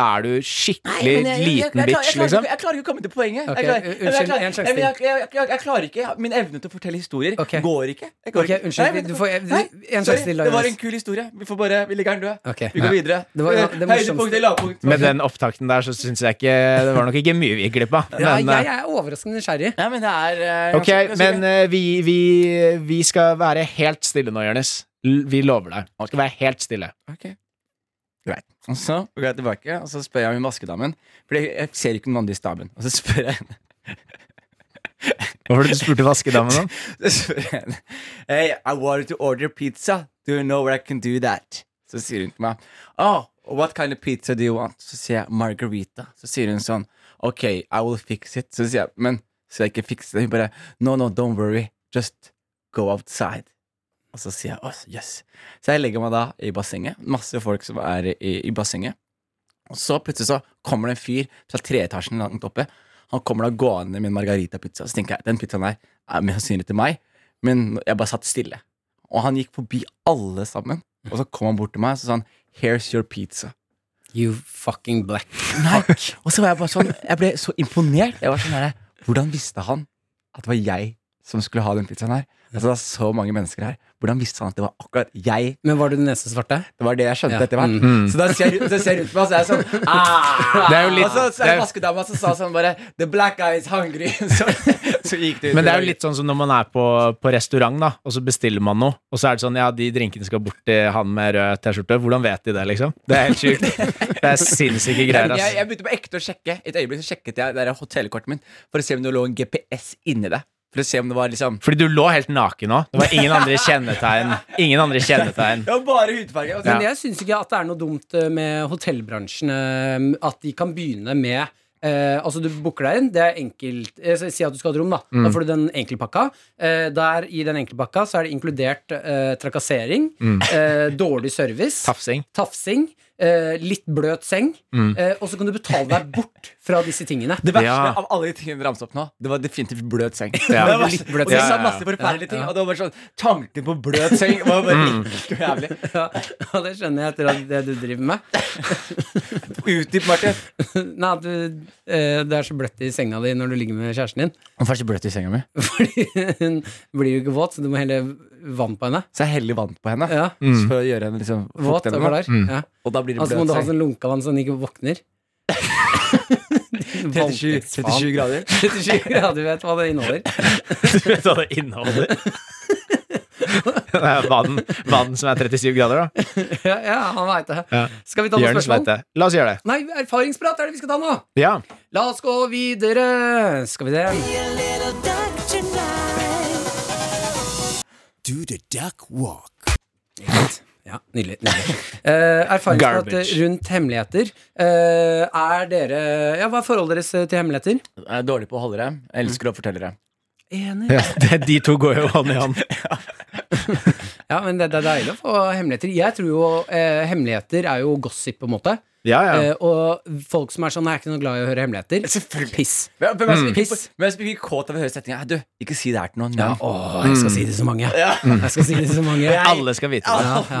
Speaker 3: er du skikkelig
Speaker 1: Nei, men jeg- jeg- jeg-
Speaker 3: liten
Speaker 1: jeg- jeg- jeg-
Speaker 3: bitch,
Speaker 1: jeg- jeg-
Speaker 3: liksom.
Speaker 1: Jeg klarer ikke å komme til poenget. Jeg
Speaker 2: Ok, u-
Speaker 1: klarer- jeg- jeg- jeg-
Speaker 2: unnskyld, en sjanse
Speaker 1: jeg- jeg- jeg- jeg- jeg klarer ikke. Min evne til å fortelle historier
Speaker 2: Ok.
Speaker 1: går ikke. Jeg går
Speaker 2: Ok,
Speaker 1: ikke.
Speaker 2: unnskyld,
Speaker 1: Nei,
Speaker 2: du
Speaker 1: vet
Speaker 2: får-
Speaker 1: hva? Nei,
Speaker 2: en sjanse
Speaker 1: sorry,
Speaker 2: til,
Speaker 1: Det var
Speaker 2: Jonas.
Speaker 1: en kul historie. Vi får bare, vi legger den død.
Speaker 2: Ok.
Speaker 1: Vi går
Speaker 2: Ja.
Speaker 1: videre.
Speaker 2: Det var- ja, det morsomste-
Speaker 1: Høydepunkt eller lavpunkt?
Speaker 3: Med den opptakten der så syns jeg ikke Det var nok ikke mye vi gikk glipp av.
Speaker 2: Ja,
Speaker 3: Men,
Speaker 2: jeg
Speaker 3: eh,
Speaker 2: er overraskende nysgjerrig.
Speaker 1: Ja, men det er eh,
Speaker 3: ok,
Speaker 1: ganske- ganske
Speaker 3: men
Speaker 1: gøy.
Speaker 3: eh, vi, vi, vi skal være helt stille nå, Jonis. L- Vi lover deg. Vi skal være helt stille.
Speaker 1: Ok. Greit. Og så går jeg tilbake, og så spør jeg om vaskedamen. For jeg jeg ser ikke den vanlige staben. Og så spør jeg henne.
Speaker 3: Hva var det du spurte vaskedamen om?
Speaker 1: (laughs) Så spør jeg henne Hey, I wanted to order pizza. Do you know where I can do that? Så sier hun til meg Oh, what kind of pizza do you want? Så sier jeg margarita. Så sier hun sånn Ok, I will fix it. Så sier jeg Men skal jeg ikke fikse det? Hun bare No, no, don't worry. Just go outside. Og så sier jeg oh, yes. Så jeg legger meg da i bassenget. Masse folk som er i, i bassenget. Og så plutselig så kommer det en fyr fra treetasjen langt oppe. Han kommer da gående med en margarita-pizza. Så tenker jeg, den pizzaen her er mest sannsynlig til meg. Men jeg bare satt stille. Og han gikk forbi alle sammen. Og så kom han bort til meg og så sa han, Here's your pizza.
Speaker 2: You fucking black.
Speaker 1: Nei. Og så var jeg bare sånn Jeg ble så imponert. Jeg var sånn her, Hvordan visste han at det var jeg som skulle ha den pizzaen her. Altså, det var så mange mennesker her. Hvordan visste han at det var akkurat jeg?
Speaker 2: Men var du den eneste svarte?
Speaker 1: Det var det jeg skjønte
Speaker 2: Ja.
Speaker 1: etter hvert. Så da ser jeg, så ser jeg rundt meg, og så er jeg sånn ah!
Speaker 3: Mm-hmm. (laughs) Det er jo litt-
Speaker 1: Og så, så er
Speaker 3: det
Speaker 1: det
Speaker 3: er-
Speaker 1: vaskedama som sa sånn bare The black guy is hungry. (laughs)
Speaker 3: (laughs)
Speaker 1: Så, så gikk det
Speaker 3: (laughs)
Speaker 1: ut.
Speaker 3: Men det er jo litt sånn som når man er på, på restaurant, da, og så bestiller man noe, og så er det sånn Ja, de drinkene skal bort til han med rød T-skjorte. Hvordan vet de det, liksom? Det er helt sjukt. Det er sinnssyke greier,
Speaker 1: jeg,
Speaker 3: ass.
Speaker 1: jeg begynte på ekte å sjekke. Et øyeblikk så sjekket jeg det der hotellkortet mitt for å se om det lå en GPS inni det. For å se om det var liksom
Speaker 3: Fordi du lå helt naken òg. Det var ingen andre kjennetegn. Ingen andre kjennetegn.
Speaker 1: Det var bare hudfarge. og så-
Speaker 2: Men jeg syns ikke at det er noe dumt eh, med hotellbransjen. eh, At de kan begynne med eh, altså Du booker deg inn. Det er enkelt eh, så Si at du skal ha et rom. Da Da får du den enkeltpakka. Eh, der I den enkeltpakka så er det inkludert eh, trakassering, eh, dårlig service,
Speaker 3: Tafsing.
Speaker 2: (laughs) tafsing, eh, litt bløt seng. Eh, og så kan du betale deg bort fra disse tingene.
Speaker 1: Det verste
Speaker 3: Ja.
Speaker 1: av alle de tingene du ramset opp nå, det var definitivt bløt seng.
Speaker 3: (laughs) Ja.
Speaker 1: Det var,
Speaker 2: Litt bløt
Speaker 1: og de
Speaker 3: seng. Ja,
Speaker 1: sa
Speaker 3: ja, ja. Mm.
Speaker 1: masse forferdelige ting,
Speaker 2: Ja, ja.
Speaker 1: og det var bare sånn Tanken på bløt seng var bare helt (laughs) jævlig.
Speaker 2: Ja, og det skjønner jeg etter at det du driver med.
Speaker 1: Utdyp, Martin.
Speaker 2: Nei, at du, eh, Det er så bløtt i senga di når du ligger med kjæresten din.
Speaker 1: Hvorfor er det så bløt i senga mi?
Speaker 2: Fordi hun blir jo ikke våt, så du må helle vann på henne.
Speaker 1: Så jeg heller vann på henne.
Speaker 2: Ja,
Speaker 1: For å gjøre henne liksom
Speaker 2: våt
Speaker 1: fukte henne,
Speaker 2: over
Speaker 1: da.
Speaker 2: der. Ja.
Speaker 1: Og da blir det
Speaker 2: Altså må du ha
Speaker 1: bløt seng.
Speaker 2: sånn lunkevann så den ikke
Speaker 1: (laughs)
Speaker 2: våkner.
Speaker 1: 37,
Speaker 2: (laughs)
Speaker 1: 37 grader.
Speaker 2: 37 grader, vet hva det inneholder.
Speaker 3: Du vet hva det inneholder? (laughs) Det er vann, vann som er 37 grader, da.
Speaker 2: Ja, ja han veit det.
Speaker 3: Ja.
Speaker 2: Skal vi ta noen
Speaker 3: Jørn vet
Speaker 2: spørsmål?
Speaker 3: det. La oss gjøre det.
Speaker 2: Nei, erfaringsprat er det vi skal ta nå!
Speaker 3: Ja.
Speaker 2: La oss gå videre. Skal vi se.
Speaker 4: Do the duck walk.
Speaker 2: Ja, nydelig. nydelig. Eh, erfaringsprat
Speaker 3: Garbage.
Speaker 2: rundt hemmeligheter. Eh, er dere Ja, hva er forholdet deres eh, til hemmeligheter?
Speaker 1: Jeg er dårlig på å holde dem. Jeg elsker å fortelle dem.
Speaker 2: Enig.
Speaker 3: ja det, de to går jo hånd i
Speaker 2: (laughs)
Speaker 3: hånd.
Speaker 2: Ja, men det, det er deilig å få hemmeligheter. Jeg tror jo eh, hemmeligheter er jo gossip, på en måte.
Speaker 3: Ja, ja.
Speaker 2: Eh, og folk som er sånn, jeg er ikke noe glad i å høre hemmeligheter.
Speaker 1: Selvfølgelig.
Speaker 2: Piss.
Speaker 1: Men hvem er det som ikke-
Speaker 2: Piss.
Speaker 1: hvem er det som ikke blir kåt av å høre setninga? Du, ikke si det her til noen.
Speaker 2: Ja,
Speaker 1: men-
Speaker 3: Mm.
Speaker 2: å, jeg skal si det så mange. Jeg skal si det så
Speaker 3: (laughs)
Speaker 2: mange.
Speaker 1: Ja.
Speaker 3: Alle skal vite det.
Speaker 2: Ja,
Speaker 1: (laughs)
Speaker 2: ja.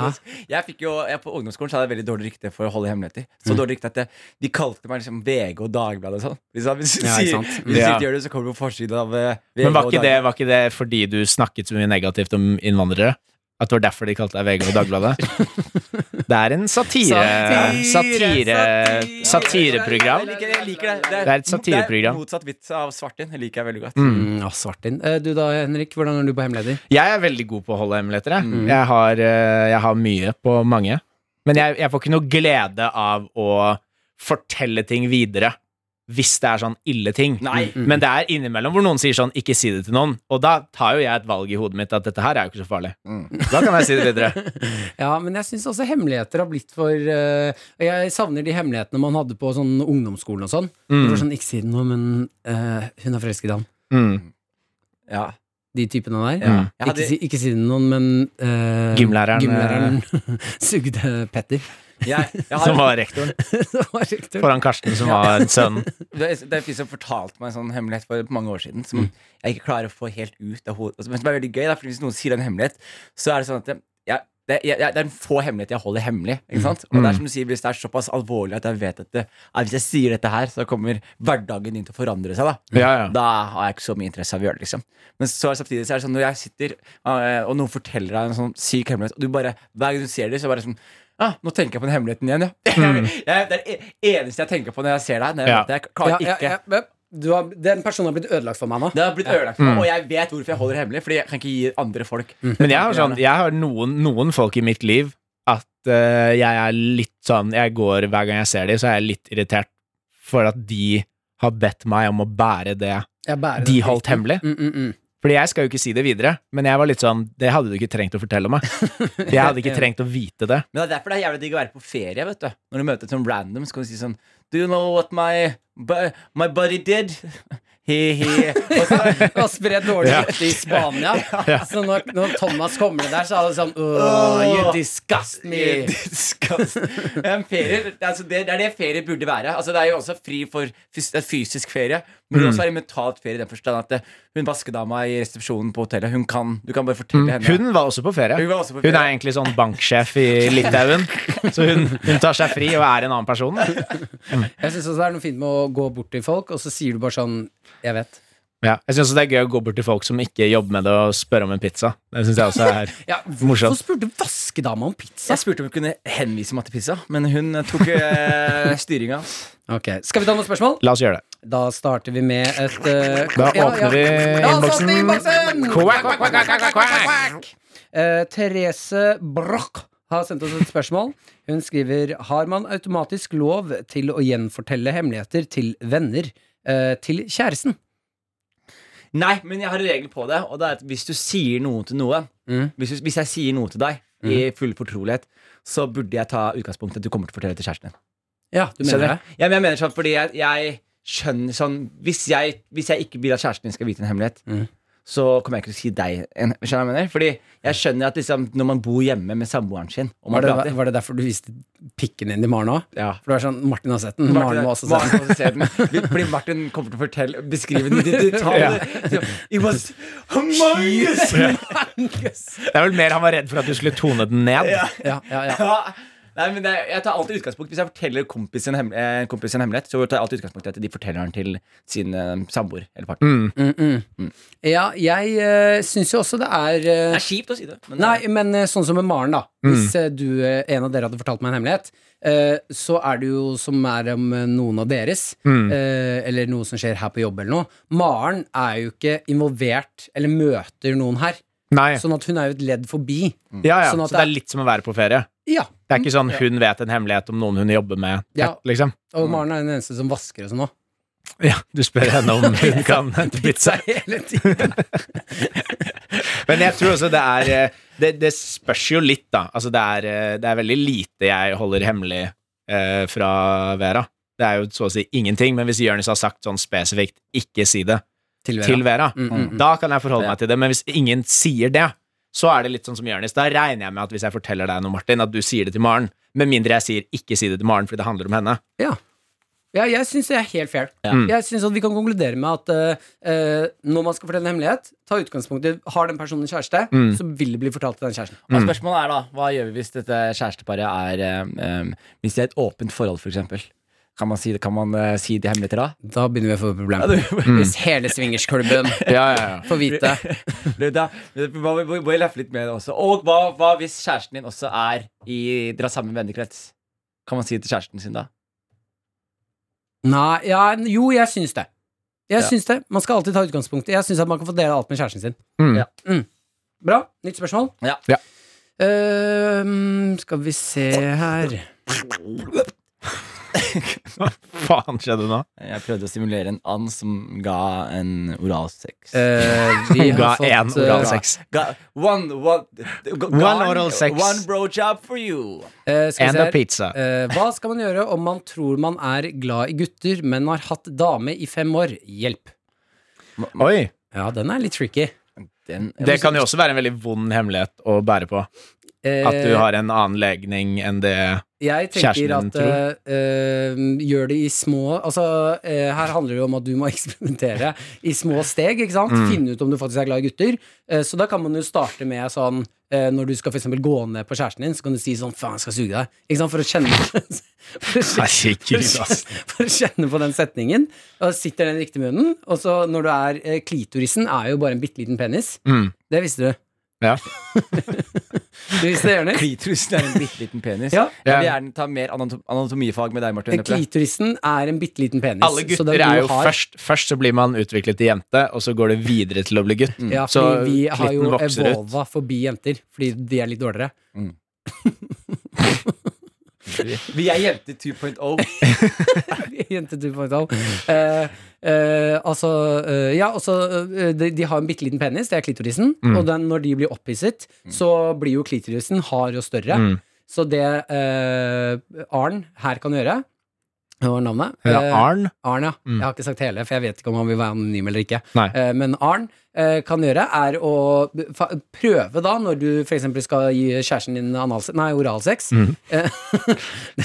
Speaker 1: Jeg fikk jo, jeg På ungdomsskolen så hadde jeg veldig dårlig rykte for å holde hemmeligheter. Så dårlig rykte at jeg, De kalte meg liksom VG og Dagbladet og sånn. Hvis, jeg- hvis, du
Speaker 2: Ja, ikke
Speaker 1: sier-
Speaker 2: sant.
Speaker 1: hvis du
Speaker 3: Ja.
Speaker 1: ikke gjør det, så kommer du på forsiden av eh, VG
Speaker 3: Men var
Speaker 1: og
Speaker 3: ikke, det,
Speaker 1: Dagbladet.
Speaker 3: var ikke det fordi du snakket så mye negativt om innvandrere? At det var derfor de kalte deg VG og
Speaker 2: (laughs)
Speaker 3: Dagbladet? Det er en satire... Satire...
Speaker 2: satire.
Speaker 3: Satireprogram.
Speaker 1: Jeg liker, det, jeg liker det. Det
Speaker 3: Det er et satireprogram.
Speaker 1: det er Motsatt vits av Svartin. Det liker jeg veldig godt.
Speaker 2: Mm, å, Svartin. Eh, du da, Henrik, hvordan er du på hemmeligheter?
Speaker 3: Jeg er veldig god på å holde hemmeligheter. Jeg, jeg, har, eh, jeg har mye på mange. Men jeg, jeg får ikke noe glede av å fortelle ting videre hvis det er sånn ille ting.
Speaker 1: Nei.
Speaker 3: Men det er innimellom hvor noen sier sånn 'ikke si det til noen', og da tar jo jeg et valg i hodet mitt at dette her er jo ikke så farlig.
Speaker 1: Mm.
Speaker 3: Da kan jeg si det videre.
Speaker 2: Ja, men jeg syns også hemmeligheter har blitt for eh, Jeg savner de hemmelighetene man hadde på sånn ungdomsskolen og sånn. Det var sånn, Ikke si det nå, men eh, hun er forelsket i han.
Speaker 3: Mm.
Speaker 1: Ja.
Speaker 2: De typene der.
Speaker 3: Ja.
Speaker 1: Jeg
Speaker 2: Mm.
Speaker 1: hadde-
Speaker 2: Ikke, si, ikke si det til noen, men eh,
Speaker 3: Gymlæreren,
Speaker 2: gymlæreren (laughs) sugde Petter. (laughs)
Speaker 1: Jeg, jeg
Speaker 3: Som var
Speaker 1: har,
Speaker 3: rektoren.
Speaker 2: det var riktig.
Speaker 3: Foran Karsten, som var sønnen.
Speaker 1: det er det er en fyr som fortalte meg en sånn hemmelighet for mange år siden
Speaker 3: Mm.
Speaker 1: som jeg ikke klarer å få helt ut av hodet. Men som er veldig gøy, da, for hvis noen sier en hemmelighet, så er det sånn at jeg, jeg, det, jeg, jeg, det er en få hemmeligheter jeg holder hemmelig. Ikke sant?
Speaker 3: Mm.
Speaker 1: Og det er som du sier, Hvis det er såpass alvorlig at jeg vet at, det, at hvis jeg sier dette her, så kommer hverdagen din til å forandre seg. da
Speaker 3: Ja, ja.
Speaker 1: da har jeg ikke så mye interesse av å gjøre det, liksom. Men så er det samtidig så er det sånn når jeg sitter eh, og noen forteller deg en sånn syk hemmelighet, og du bare, hver gang du ser det, så bare sånn Ah, nå tenker jeg på den hemmeligheten igjen, ja. (laughs) jeg, det er det eneste jeg tenker på når jeg ser deg. Når
Speaker 3: Mm.
Speaker 1: jeg,
Speaker 3: Ja.
Speaker 1: møter deg. jeg klarer
Speaker 2: Ja,
Speaker 1: ikke
Speaker 2: ja, ja. Du har, den personen har blitt ødelagt for meg nå.
Speaker 1: Det har blitt ødelagt for meg, og jeg vet hvorfor jeg holder det hemmelig. Fordi jeg kan ikke gi andre folk
Speaker 3: Men jeg har, sånn, jeg har noen, noen folk i mitt liv at eh, jeg er litt sånn Jeg går hver gang jeg ser dem, så er jeg litt irritert for at de har bedt meg om å bære det
Speaker 2: Jeg bærer
Speaker 3: de
Speaker 2: den
Speaker 3: holdt
Speaker 2: frykten.
Speaker 3: hemmelig.
Speaker 2: Mm, mm, mm.
Speaker 3: Fordi jeg skal jo ikke si det videre, men jeg var litt sånn Det hadde du ikke trengt å fortelle
Speaker 1: (laughs)
Speaker 3: meg. Jeg hadde ikke trengt å vite det.
Speaker 1: Men det er derfor det er jævlig digg å være på ferie, vet du. Når du møter et sånn random, så kan du si sånn Do you know what my, bu- my buddy did? (laughs) He, he. Og så,
Speaker 2: Det var spredt dårlig
Speaker 3: Ja.
Speaker 2: rykte i Spania. Så når, når Thomas kommer der, så er det sånn «Åh, You disgust me!
Speaker 1: Disgust. (laughs) En ferie, altså det, det er det ferie burde være. Altså det er jo også fri for fys det er fysisk ferie, men det er også er det mentalt ferie i den forstand at eh, hun vaskedama i resepsjonen på hotellet Hun kan, Du kan bare fortelle henne
Speaker 3: Hun var også på ferie.
Speaker 1: Hun var også
Speaker 3: Hun
Speaker 1: på
Speaker 3: er
Speaker 1: ferie.
Speaker 3: egentlig sånn banksjef i Litauen, så hun, hun tar seg fri og er en annen person.
Speaker 2: Jeg syns også det er noe fint med å gå bort til folk, og så sier du bare sånn Jeg vet.
Speaker 3: Ja. Jeg syns det er gøy å gå bort til folk som ikke jobber med det, og spørre om en pizza. Det synes jeg også er
Speaker 2: Ja,
Speaker 3: Morsomt.
Speaker 2: Hvorfor spurte vaskedama om pizza?
Speaker 1: Jeg spurte om hun kunne henvise meg til pizza, men hun tok eh, (laughs) styringa.
Speaker 2: Ok, Skal vi ta noen spørsmål?
Speaker 3: La oss gjøre det.
Speaker 2: Da starter vi med et eh,
Speaker 3: Da
Speaker 2: ja, ja.
Speaker 3: åpner vi
Speaker 2: Da åpner vi
Speaker 3: innboksen.
Speaker 2: innboksen!
Speaker 3: Quack, quack, quack, quack, quack, quack.
Speaker 2: Eh, Therese Broch har sendt oss et spørsmål. Hun skriver Har man automatisk lov til å gjenfortelle hemmeligheter til venner eh, til kjæresten?
Speaker 1: Nei, men jeg har regler på det, og det er at hvis du sier noe til noen
Speaker 2: Mm.
Speaker 1: hvis, du, hvis jeg sier noe til deg i full fortrolighet, så burde jeg ta utgangspunkt i at du kommer til å fortelle det til kjæresten din.
Speaker 2: Ja, du mener
Speaker 1: Skjønner
Speaker 2: det?
Speaker 1: du? Ja, men jeg mener sånn fordi jeg, jeg skjønner sånn hvis jeg, hvis jeg ikke vil at kjæresten din skal vite en hemmelighet,
Speaker 2: Mhm.
Speaker 1: så kommer jeg ikke til å si deg en Skjønner du hva jeg mener? Fordi jeg skjønner at liksom, når man bor hjemme med samboeren sin og man
Speaker 2: Var det,
Speaker 1: prater
Speaker 2: var det derfor du viste pikken din til Maren òg?
Speaker 1: ja.
Speaker 2: For du er sånn Martin har sett den. Maren må også se den.
Speaker 1: Maren må også se den. Vi- Fordi Martin kommer til å fortelle beskrive den i detaljer.
Speaker 2: (laughs)
Speaker 1: It was
Speaker 2: (laughs)
Speaker 1: humongous!
Speaker 3: Det er vel mer han var redd for at du skulle tone den ned.
Speaker 2: Ja, ja, ja.
Speaker 1: Ja. Nei, men det, jeg tar alltid utgangspunkt Hvis jeg forteller kompis en, hem, eh, en kompis en hemmelighet, så tar jeg alltid utgangspunkt i at de forteller den til sin eh, samboer eller partner.
Speaker 2: Mm. ja jeg uh, syns jo også det er eh,
Speaker 1: Mm. Det er Mm. kjipt å si det. Men
Speaker 2: Nei, men eh, sånn som med Maren, da. Hvis eh, du, eh, en av dere hadde fortalt meg en hemmelighet, eh, så er det jo som er om eh, noen av deres,
Speaker 1: Mm.
Speaker 2: eh, eller noe som skjer her på jobb eller noe. Maren er jo ikke involvert, eller møter noen her.
Speaker 3: Nei.
Speaker 2: Sånn at hun er jo et ledd forbi.
Speaker 1: Mm.
Speaker 3: Ja, ja.
Speaker 2: Sånn at
Speaker 3: Så det er litt som å være på ferie.
Speaker 2: Ja.
Speaker 3: Det er ikke sånn hun vet en hemmelighet om noen hun jobber med.
Speaker 2: Ja.
Speaker 3: Liksom.
Speaker 2: Og
Speaker 1: Mm.
Speaker 2: Maren er den eneste som vasker og sånn nå.
Speaker 3: Ja, du spør henne om
Speaker 2: (laughs)
Speaker 3: hun kan hente pizza.
Speaker 2: Hele tiden.
Speaker 3: Men jeg tror også det er eh, Det, det spørs jo litt, da. Altså, det er, eh, det er veldig lite jeg holder hemmelig eh, fra Vera. Det er jo så å si ingenting, men hvis Jonis har sagt sånn spesifikt 'ikke si det'
Speaker 2: Til
Speaker 3: til
Speaker 2: Vera.
Speaker 3: Vera,
Speaker 2: Mm, mm, mm.
Speaker 3: da kan jeg forholde meg til det. Men hvis ingen sier det, så er det litt sånn som Jonis. Da regner jeg med at hvis jeg forteller deg noe, Martin, at du sier det til Maren. Med mindre jeg sier 'ikke si det til Maren', fordi det handler om henne.
Speaker 2: Ja. Ja, jeg syns det er helt fair.
Speaker 3: Mm.
Speaker 2: Jeg synes at Vi kan konkludere med at eh, eh, når man skal fortelle en hemmelighet, ta utgangspunkt i har den personen en kjæreste,
Speaker 3: Mm.
Speaker 2: så vil det bli fortalt til den kjæresten.
Speaker 1: Og spørsmålet er da, hva gjør vi hvis dette kjæresteparet er um, um, Hvis det er et åpent forhold, for eksempel? Kan man si, det- kan man, eh, si de hemmeligheter da?
Speaker 2: (laughs) Da begynner vi å få problemer. Hvis hele swingersklubben
Speaker 3: (laughs) Ja, ja, ja.
Speaker 2: får vite
Speaker 1: Det- da- Vi må vi må- må leffe litt med det også. Og hva, hva hvis kjæresten din også er i Dra sammen vennekrets? Kan man si det til kjæresten sin da?
Speaker 2: Nei, ja, jo, jeg syns det. Jeg
Speaker 1: Ja.
Speaker 2: syns det. Man skal alltid ta utgangspunkt. Jeg syns at man kan få dele alt med kjæresten sin.
Speaker 3: Mm.
Speaker 1: Ja.
Speaker 2: Mm. Bra. Nytt spørsmål.
Speaker 1: Ja.
Speaker 3: Ja.
Speaker 2: Ehm, skal vi se her
Speaker 3: Hva faen skjedde nå?
Speaker 1: Jeg prøvde å stimulere en and som ga en oralsex.
Speaker 2: Eh, Vi
Speaker 3: Hun ga
Speaker 2: har fått
Speaker 3: én
Speaker 2: eh,
Speaker 3: oralsex.
Speaker 1: Ga- One, one, ga-
Speaker 3: One oral sex.
Speaker 1: One bro job for you.
Speaker 2: eh, skal vi
Speaker 3: And
Speaker 2: se
Speaker 3: a
Speaker 2: her.
Speaker 3: pizza.
Speaker 2: Eh, hva skal man gjøre om man tror man er glad i gutter, men har hatt dame i fem år? Hjelp.
Speaker 3: Oi.
Speaker 2: Ja, den er litt tricky.
Speaker 1: Den,
Speaker 3: Det kan jo også være en veldig vond hemmelighet å bære på.
Speaker 2: Eh,
Speaker 3: At du har en annen legning enn (laughs) det
Speaker 2: Jeg
Speaker 3: Kjæresten
Speaker 2: tenker
Speaker 3: din,
Speaker 2: at eh, eh, gjør det i små Altså, eh, her handler det jo om at du må (laughs) eksperimentere i små steg, ikke sant?
Speaker 3: Mm.
Speaker 2: Finne ut om du faktisk er glad i gutter. Eh, så da kan man jo starte med sånn eh, Når du skal for eksempel gå ned på kjæresten din, så kan du si sånn Faen, jeg skal suge deg. Ikke sant? For å kjenne (laughs) for å kjenne-
Speaker 3: Herregud, ass.
Speaker 2: for å kjenne på den setningen. Og sitter den i riktig munnen. Og så når du er eh, Klitorisen er jo bare en bitte liten penis.
Speaker 3: Mm.
Speaker 2: Det visste du.
Speaker 3: Ja.
Speaker 2: Du visste det, Jonis?
Speaker 1: Klitorusen er en bitte liten
Speaker 2: (laughs)
Speaker 1: penis.
Speaker 2: Ja.
Speaker 1: Jeg vil
Speaker 3: Ja.
Speaker 1: gjerne ta mer anatom anatomifag med deg, Martin.
Speaker 2: Eh,
Speaker 1: Lepperød.
Speaker 2: Klitorisen er en bitte liten penis.
Speaker 3: Alle
Speaker 2: så det
Speaker 3: gutter er
Speaker 2: du
Speaker 3: jo
Speaker 2: har-
Speaker 3: først Først så blir man utviklet til jente, og så går det videre til å bli gutt.
Speaker 2: Ja,
Speaker 3: Så
Speaker 2: fordi vi har jo
Speaker 3: klitten vokser ut.
Speaker 2: evolva forbi jenter, fordi de er litt dårligere.
Speaker 1: Vi er jenter
Speaker 2: (laughs)
Speaker 1: 2.0.
Speaker 2: Jenter 2.0. Eh, eh, altså eh, Ja, og så eh, de, de har en bitte liten penis, det er klitorisen.
Speaker 3: Mm.
Speaker 2: Og den, når de blir opphisset, så blir jo klitorisen hard og større.
Speaker 3: Mm.
Speaker 2: Så det eh, Arn her kan gjøre Hva var navnet?
Speaker 3: Ja,
Speaker 2: Eh,
Speaker 3: Arn?
Speaker 2: Arn, ja.
Speaker 3: Mm.
Speaker 2: Jeg har ikke sagt hele, for jeg vet ikke om han vil være anonym eller ikke.
Speaker 3: Nei.
Speaker 2: Eh, Men Arn eh, kan gjøre, er å b- fa- prøve, da, når du f.eks. skal gi kjæresten din analse nei,
Speaker 3: Mm.
Speaker 2: oralsex eh, det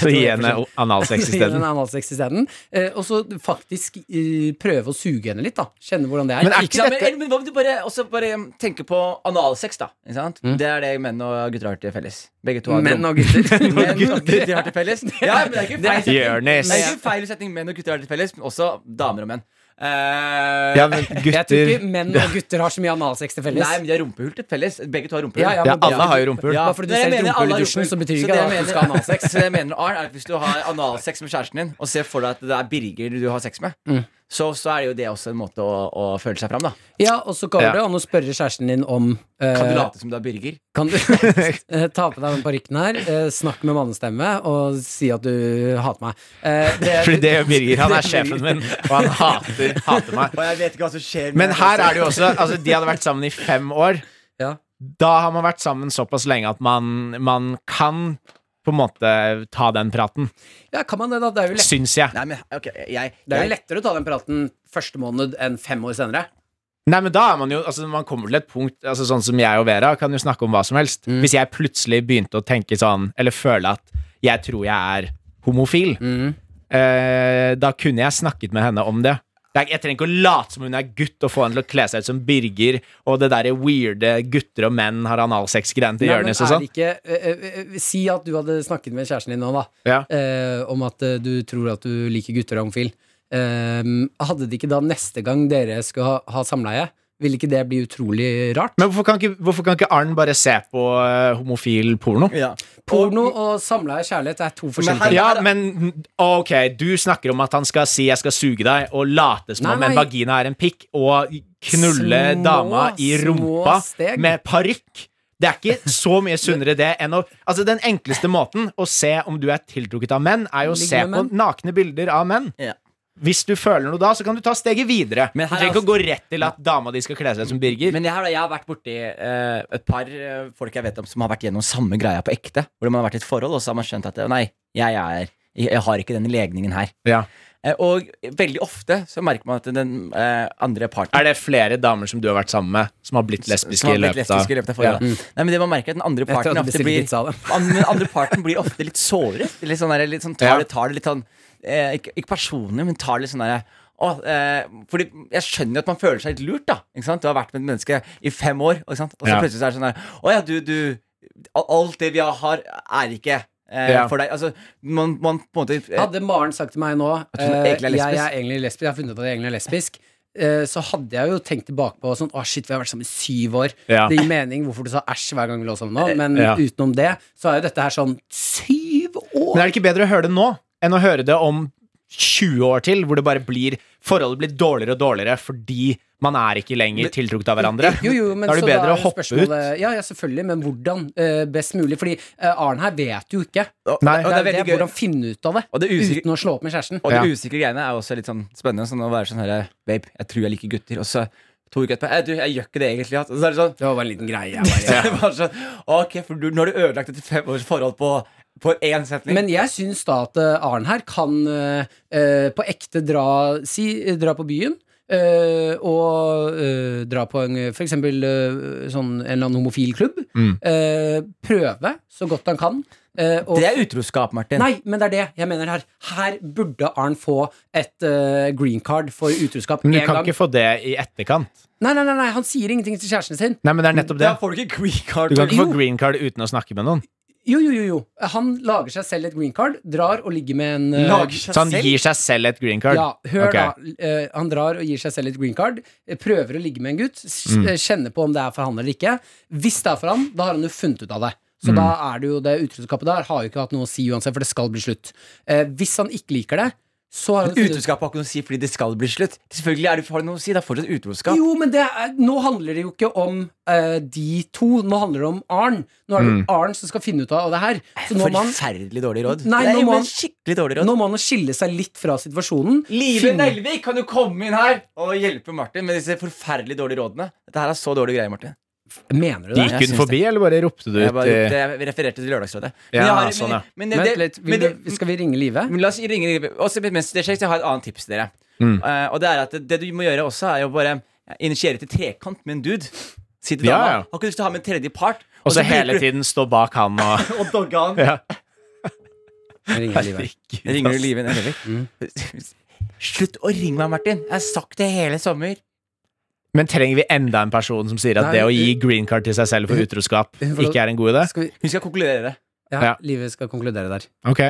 Speaker 3: Så (laughs)
Speaker 2: tror
Speaker 3: gi (laughs)
Speaker 2: jeg
Speaker 3: henne
Speaker 2: for
Speaker 3: analsex
Speaker 2: sent. (laughs) Gi henne
Speaker 3: isteden.
Speaker 2: analsex isteden. Eh, Og så faktisk eh, prøve å suge henne litt, da. Kjenne hvordan det er.
Speaker 3: Men er
Speaker 1: Ikke
Speaker 3: ikke
Speaker 1: sant?
Speaker 3: dette
Speaker 1: Men, men hva om du bare, også bare um, tenker på analsex, da? Ikke sant?
Speaker 3: Mm.
Speaker 1: Det er det menn og gutter har til felles. Begge to har
Speaker 2: Menn
Speaker 1: dum-
Speaker 2: og (laughs) gutter.
Speaker 1: (laughs) menn og gutter har til felles. Ja, men det er ikke feil setning.
Speaker 3: Jonis.
Speaker 1: Det er ikke feil setning menn Eh, og gutter har til felles, men også damer og menn. Eh,
Speaker 3: Ja, men
Speaker 2: Jeg tror
Speaker 3: gutter
Speaker 2: ikke menn og gutter har så mye analsex til felles.
Speaker 1: Nei, men de har rumpehull til felles. Begge to har rumpehull.
Speaker 2: Ja, ja,
Speaker 3: Ja,
Speaker 2: men bare-
Speaker 3: alle har jo rumpehull.
Speaker 2: Bare fordi du
Speaker 1: Men jeg
Speaker 2: ser et
Speaker 1: mener alle
Speaker 2: rumpehull i
Speaker 1: har
Speaker 2: dusjen, så betyr
Speaker 1: Så
Speaker 2: ikke det
Speaker 1: jeg
Speaker 2: at du
Speaker 1: mener-
Speaker 2: skal ha
Speaker 1: (laughs)
Speaker 2: analsex.
Speaker 1: Så det jeg mener, Arn, er at hvis du har analsex med kjæresten din, og ser for deg at det er Birger du har sex med, så, så er det jo det også en måte å, å føle seg fram, da.
Speaker 2: Ja, og så går
Speaker 3: Ja.
Speaker 2: det an å spørre kjæresten din om eh,
Speaker 1: Kan du late som du er Birger?
Speaker 2: Kan du eh, ta på deg den parykken her, eh, snakk med mannestemme og si at du hater meg? Eh, det-
Speaker 3: Fordi det gjør Birger. Han er sjefen min, og han hater, hater meg.
Speaker 1: Og jeg vet ikke hva som skjer
Speaker 3: Men her er det jo også Altså, de hadde vært sammen i fem år.
Speaker 2: Ja.
Speaker 3: Da har man vært sammen såpass lenge at man, man kan på en måte ta den praten,
Speaker 2: ja, kan man det, da? Det er jo, lett,
Speaker 3: syns jeg.
Speaker 1: Nei, men ok, jeg,
Speaker 2: det er jo
Speaker 1: jeg
Speaker 2: lettere å ta den praten første måned enn fem år senere.
Speaker 3: Nei, men da er man jo Altså, man kommer til et punkt Altså, sånn som jeg og Vera kan jo snakke om hva som helst.
Speaker 2: Mm.
Speaker 3: Hvis jeg plutselig begynte å tenke sånn, eller føle at jeg tror jeg er homofil,
Speaker 2: Mm.
Speaker 3: eh, da kunne jeg snakket med henne om det. Det er- Jeg trenger ikke å late som hun er gutt og få henne til å kle seg ut som Birger og det derre weirde gutter og menn har analsex-greiene til
Speaker 2: Nei, men
Speaker 3: Jonis og
Speaker 2: er
Speaker 3: sånn.
Speaker 2: det ikke, eh, eh, si at du hadde snakket med kjæresten din nå, da,
Speaker 3: Ja.
Speaker 2: eh, om at eh, du tror at du liker gutter og homofil. Eh, hadde det ikke da neste gang dere skulle ha, ha samleie, ville ikke det bli utrolig rart?
Speaker 3: Men hvorfor kan ikke, hvorfor kan ikke Arn bare se på eh, homofil porno?
Speaker 1: ja.
Speaker 2: Porno og samleie kjærlighet er to
Speaker 1: Men
Speaker 2: forskjellige
Speaker 1: her-
Speaker 2: ting.
Speaker 3: Ja, men ok, du snakker om at han skal si 'jeg skal suge deg' og late som om
Speaker 2: Nei.
Speaker 3: en vagina er en pikk, og knulle
Speaker 2: Små,
Speaker 3: dama i
Speaker 2: små
Speaker 3: rumpa
Speaker 2: steg.
Speaker 3: med parykk. Det er
Speaker 2: (laughs)
Speaker 3: ikke så mye sunnere det enn å Altså, den enkleste måten å se om du er tiltrukket av menn, er jo å
Speaker 2: Ligge
Speaker 3: se på
Speaker 2: med menn.
Speaker 3: nakne bilder av menn.
Speaker 1: Ja.
Speaker 3: Hvis du føler noe da, så kan du ta steget videre. Du
Speaker 1: Men her er
Speaker 3: trenger
Speaker 1: altså-
Speaker 3: ikke å gå rett til at dama di skal kle seg ut som Birger.
Speaker 1: Men jeg har, jeg har vært borti eh, et par eh, folk jeg vet om som har vært gjennom samme greia på ekte. Hvor man har vært i et forhold, og så har man skjønt at eh, nei, jeg, er, jeg har ikke den legningen her.
Speaker 3: Ja.
Speaker 1: Eh, og veldig ofte så merker man at den eh, andre parten
Speaker 3: Er det flere damer som du har vært sammen med, som har blitt lesbiske
Speaker 1: som har
Speaker 3: i
Speaker 1: blitt
Speaker 3: løpet
Speaker 1: lesbiske i
Speaker 3: av
Speaker 1: løpet av forholdet. Nei, men det man merker er at den andre
Speaker 2: Jeg tror
Speaker 1: parten
Speaker 2: at du
Speaker 1: ofte
Speaker 2: bestilte
Speaker 1: blir
Speaker 2: pizza av dem.
Speaker 1: an- (laughs) den andre parten blir ofte litt såret. Litt sånn, der, litt sånn tar
Speaker 3: Ja.
Speaker 1: det, tar det litt sånn eh, ikke, ikke personlig, men tar litt sånn derre å, eh, fordi Jeg skjønner jo at man føler seg litt lurt. da ikke sant? Du har vært med et menneske i fem år, ikke sant? og så
Speaker 3: Ja.
Speaker 1: plutselig så er det sånn der Å ja, du, du al- Alt det vi har, er ikke eh,
Speaker 3: Ja.
Speaker 1: for deg. Altså, man, man på en måte eh,
Speaker 2: Hadde Maren sagt til meg nå
Speaker 1: At hun
Speaker 2: eh,
Speaker 1: egentlig er lesbisk?
Speaker 2: Jeg er egentlig lesbisk, jeg har funnet ut at jeg egentlig er lesbisk. eh, Så hadde jeg jo tenkt tilbake på sånn Å, shit, vi har vært sammen i syv år.
Speaker 3: Ja.
Speaker 2: Det gir mening hvorfor du sa æsj hver gang vi lå sammen nå, men
Speaker 3: Ja.
Speaker 2: utenom det så er jo dette her sånn syv
Speaker 3: Men
Speaker 2: år!
Speaker 3: er det ikke bedre å høre det nå enn å høre det om 20 år til, hvor det bare blir forholdet blir dårligere og dårligere fordi man er ikke lenger tiltrukket av hverandre?
Speaker 2: Jo, jo, men
Speaker 3: da er det
Speaker 2: så
Speaker 3: bedre å
Speaker 2: jo
Speaker 3: hoppe ut.
Speaker 2: spørsmålet- Ja, ja, selvfølgelig, men hvordan? eh, best mulig. Fordi eh, Arne her vet jo ikke.
Speaker 1: og,
Speaker 3: Nei.
Speaker 1: og
Speaker 2: det
Speaker 1: det er
Speaker 2: er jo
Speaker 1: veldig
Speaker 2: det,
Speaker 1: gøy.
Speaker 2: hvordan finne ut av det
Speaker 1: Og det er usikker-
Speaker 2: uten å slå opp med kjæresten.
Speaker 1: Og de
Speaker 3: Ja.
Speaker 1: usikre greiene er også litt sånn spennende. Sånn å være sånn her Babe, jeg tror jeg liker gutter. Og så to uker etterpå Jeg, du, jeg gjør ikke det egentlig. ass». Og så er det sånn, (laughs)
Speaker 2: Det var bare en liten greie. Jeg bare,
Speaker 1: så er det bare sånn Ok, for du, nå har du ødelagt et fem års forhold på, på én setning.
Speaker 2: Men jeg syns da at eh, Arn her kan eh, eh, på ekte dra, si, eh, dra på byen. eh, og eh, dra på en eh, for eksempel eh, sånn, en eller annen homofil klubb.
Speaker 1: Mm.
Speaker 2: Eh, prøve så godt han kan. eh, og,
Speaker 1: det er utroskap, Martin.
Speaker 2: nei, men det er det jeg mener her. Her burde Arn få et eh, green card for utroskap
Speaker 3: Men du
Speaker 2: en
Speaker 3: kan
Speaker 2: gang.
Speaker 3: ikke få det i etterkant.
Speaker 2: Nei, nei, nei, nei, han sier ingenting til kjæresten sin.
Speaker 3: Nei, men det er nettopp det.
Speaker 1: Da får du ikke green
Speaker 3: Du
Speaker 1: card.
Speaker 3: kan ikke
Speaker 2: Jo.
Speaker 3: få green card uten å snakke med noen.
Speaker 2: Jo, jo, jo, jo. Han lager seg selv et green card, drar og ligger med en eh,
Speaker 1: Lager seg
Speaker 3: Så han
Speaker 1: selv.
Speaker 3: Sånn, gir seg selv et green card.
Speaker 2: Ja, hør
Speaker 3: Ok.
Speaker 2: da. Eh, han drar og gir seg selv et green card. eh, Prøver å ligge med en gutt. s-
Speaker 3: Mm.
Speaker 2: eh, Kjenner på om det er for han eller ikke. Hvis det er for han, da har han jo funnet ut av det. Så
Speaker 3: Mm.
Speaker 2: da er det jo det utroskapet der har jo ikke hatt noe å si uansett, for det skal bli slutt. Eh, hvis han ikke liker det, så har han funnet ut
Speaker 1: Utroskap har ikke noe å si fordi det skal bli slutt. Selvfølgelig er det, har det noe å si. Det er fortsatt utroskap.
Speaker 2: Jo, men det er, nå handler det jo ikke om eh, de to. Nå handler det om Arn. Nå er det jo Arn som skal finne ut av det her. Så nå må han
Speaker 1: Mm. Forferdelig dårlig råd.
Speaker 2: Nei,
Speaker 1: det
Speaker 2: nå
Speaker 1: er
Speaker 2: må
Speaker 1: men
Speaker 2: han-
Speaker 1: skikkelig dårlig råd.
Speaker 2: nå må han skille seg litt fra situasjonen.
Speaker 1: Live
Speaker 2: Finne-
Speaker 1: Nelvik, kan du komme inn her og hjelpe Martin med disse forferdelig dårlige rådene? Dette her er så dårlige greier, Martin.
Speaker 2: Mener du det?
Speaker 3: Gikk
Speaker 1: Jeg
Speaker 3: hun
Speaker 1: syns
Speaker 3: forbi, eller bare ropte du
Speaker 1: Jeg,
Speaker 3: ut? eh,
Speaker 1: bare,
Speaker 3: i-
Speaker 1: jeg refererte til Lørdagsrådet. Men
Speaker 3: Ja,
Speaker 1: jeg har- men-
Speaker 3: sånn, ja.
Speaker 1: men det-
Speaker 2: Vent litt,
Speaker 1: men
Speaker 2: vil
Speaker 1: det-
Speaker 2: du, skal vi ringe Live?
Speaker 1: men la oss ringe også, mens det skjer, så har jeg et annet tips til dere.
Speaker 3: Mm.
Speaker 1: Eh, og Det er at det du må gjøre også, er jo bare initiere til trekant med en dude. Si til
Speaker 3: Ja,
Speaker 1: dama
Speaker 3: ja.
Speaker 1: Har ikke lyst til å ha med en tredje part.
Speaker 3: Og så hele
Speaker 1: bruker du-
Speaker 3: tiden stå bak han
Speaker 1: (laughs)
Speaker 3: og
Speaker 1: Og dogge
Speaker 3: (laughs)
Speaker 1: han.
Speaker 3: ja.
Speaker 2: Jeg ringer Live.
Speaker 1: Jeg ringer du Live Nelvik? (laughs) Slutt å ringe meg, Martin. Jeg har sagt det hele sommer.
Speaker 3: Men trenger vi enda en person som sier at
Speaker 2: Nei,
Speaker 3: det å gi
Speaker 2: hun-
Speaker 3: green card til seg selv for utroskap
Speaker 2: Hun får-
Speaker 3: ikke er en god idé?
Speaker 2: Skal vi,
Speaker 1: Hun skal konkludere det.
Speaker 2: ja,
Speaker 3: Ja.
Speaker 2: Live skal konkludere der.
Speaker 3: Ok.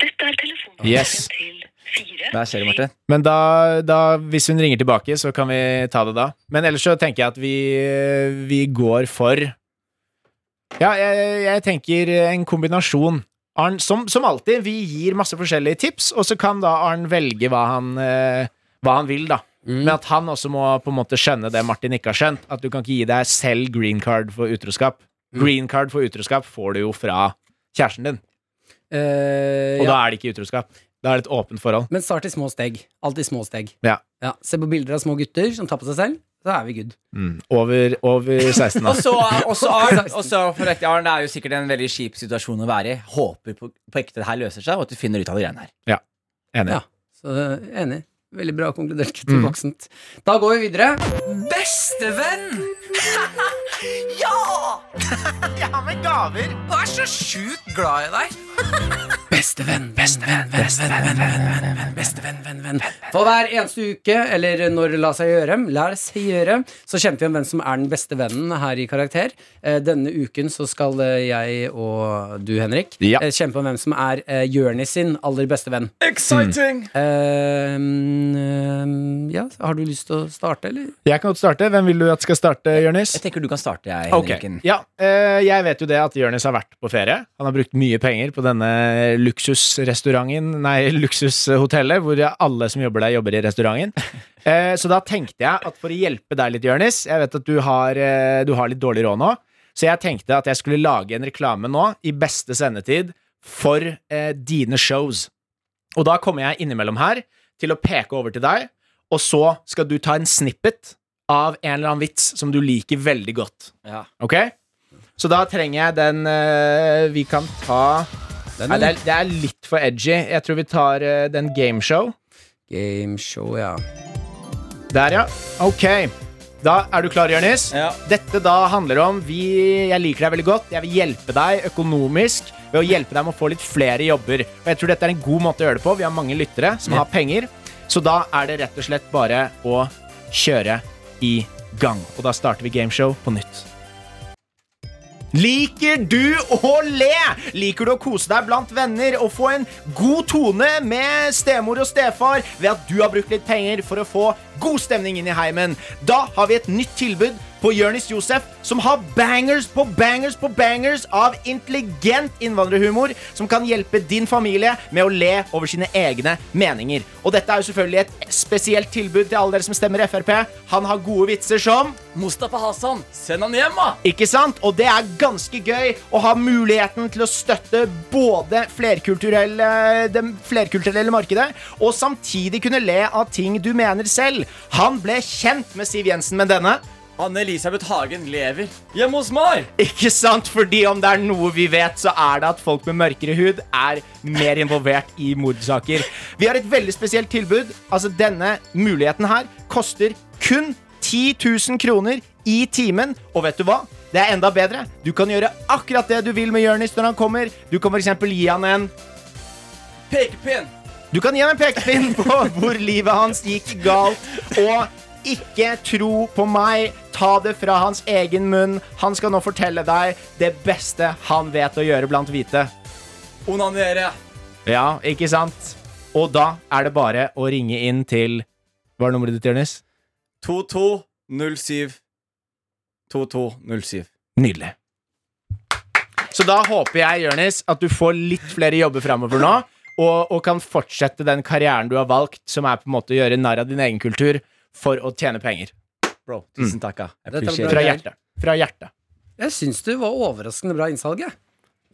Speaker 4: Dette er telefonen
Speaker 3: Yes.
Speaker 4: til fire.
Speaker 1: Der ser du, Martin.
Speaker 3: Men da, da, hvis hun ringer tilbake, så kan vi ta det da. Men ellers så tenker jeg at vi, vi går for Ja, jeg, jeg tenker en kombinasjon. Arn, som, som alltid, vi gir masse forskjellige tips, og så kan da Arn velge hva han, eh, hva han vil, da. Men at han også må på en måte skjønne det Martin ikke har skjønt. At du kan ikke gi deg selv green card for utroskap. Green card for utroskap får du jo fra kjæresten din,
Speaker 2: Eh,
Speaker 3: og
Speaker 2: ja.
Speaker 3: da er det ikke utroskap. Da er det et åpent forhold.
Speaker 2: Men start i små steg. Alltid små steg.
Speaker 3: Ja.
Speaker 2: Ja, se på bilder av små gutter som tar på seg selv, så er vi good.
Speaker 3: Mm. Over, over altså. 16, da.
Speaker 1: Og så og så Arn, og så for ekte Arn, det er jo sikkert en veldig kjip situasjon å være i. Håper på, på ekte det her løser seg, og at du finner ut av de greiene her.
Speaker 3: Enig.
Speaker 2: Ja. Så eh, enig. Veldig bra konkludert til voksent. Da går vi videre.
Speaker 1: Bestevenn!
Speaker 2: Bestevenn, bestevenn, bestevenn, venn, venn, venn, venn, bestevenn, venn, venn. For hver eneste uke, eller når det lar seg gjøre, lar seg gjøre, så kjemper vi om hvem som er den beste vennen her i Karakter. Eh, Denne uken så skal eh, jeg og du, Henrik,
Speaker 3: Ja.
Speaker 2: eh, kjempe om hvem som er eh, Jørnis sin aller beste venn.
Speaker 1: Exciting!
Speaker 2: Eh, mm, eh, ja, har du lyst til å starte, eller?
Speaker 3: (laughs) Jeg kan godt starte. Hvem vil du at skal starte, Jørnis?
Speaker 1: Jeg tenker du kan starte, jeg,
Speaker 3: Ok.
Speaker 1: Henriken.
Speaker 3: Ja, eh, jeg vet jo det at Jørnis har vært på ferie. Han har brukt mye penger på denne luksusrestauranten, nei, luksushotellet, hvor alle som jobber der, jobber i restauranten. Eh, så da tenkte jeg at for å hjelpe deg litt, Jørnis, jeg vet at du har, eh, du har litt dårlig råd nå, så jeg tenkte at jeg skulle lage en reklame nå, i beste sendetid, for eh, dine shows. Og da kommer jeg innimellom her til å peke over til deg, og så skal du ta en snippet av en eller annen vits som du liker veldig godt.
Speaker 1: Ja.
Speaker 3: Ok? Så da trenger jeg den eh, vi kan ta Nei, det, er, det er litt for edgy. Jeg tror vi tar eh, den gameshow.
Speaker 2: Gameshow, ja.
Speaker 3: Der, ja. Ok. Da er du klar, Jørnis?
Speaker 1: Ja.
Speaker 3: Dette da handler om vi, Jeg liker deg veldig godt. Jeg vil hjelpe deg økonomisk ved å hjelpe deg med å få litt flere jobber. Og jeg tror dette er en god måte å gjøre det på. Vi har mange lyttere som har penger. Så da er det rett og slett bare å kjøre i gang. Og da starter vi gameshow på nytt. Liker du å le? Liker du å kose deg blant venner og få en god tone med stemor og stefar ved at du har brukt litt penger for å få god stemning inn i heimen? Da har vi et nytt tilbud på Jørnis Josef, som har bangers på bangers på bangers av intelligent innvandrerhumor som kan hjelpe din familie med å le over sine egne meninger. Og dette er jo selvfølgelig et spesielt tilbud til alle dere som stemmer Frp. Han har gode vitser som
Speaker 1: Mustafa Hasan, send han hjem, da!
Speaker 3: ikke sant? Og det er ganske gøy å ha muligheten til å støtte både flerkulturelle, det flerkulturelle markedet og samtidig kunne le av ting du mener selv. Han ble kjent med Siv Jensen med denne.
Speaker 1: Anne-Elisabeth Hagen lever hjemme hos meg!
Speaker 3: Ikke sant? Fordi om det er noe vi vet, så er det at folk med mørkere hud er mer involvert i mordsaker. Vi har et veldig spesielt tilbud. Altså, denne muligheten her koster kun 10 000 kroner i timen. Og vet du hva? Det er enda bedre. Du kan gjøre akkurat det du vil med Jonis når han kommer. Du kan f.eks. gi han en
Speaker 1: Pekepinn!
Speaker 3: du kan gi ham en pekepinn på hvor livet hans gikk galt. Og ikke tro på meg. Ta det fra hans egen munn. Han skal nå fortelle deg det beste han vet å gjøre blant hvite.
Speaker 1: Onanere!
Speaker 3: Ja, ikke sant? Og da er det bare å ringe inn til Hva er nummeret ditt, Jonis?
Speaker 1: 2207 2207.
Speaker 3: Nydelig. Så da håper jeg, Jørnis, at du får litt flere jobber framover nå. Og, og kan fortsette den karrieren du har valgt, som er på en måte å gjøre narr av din egen kultur for å tjene penger.
Speaker 1: Bro,
Speaker 3: Mm.
Speaker 1: tusen takk. ass.
Speaker 2: Dette
Speaker 1: Jeg
Speaker 2: var
Speaker 1: appreciate
Speaker 2: bra.
Speaker 3: Fra
Speaker 1: it.
Speaker 3: hjertet. Fra hjertet.
Speaker 2: Jeg syns du var overraskende bra innsalg, jeg.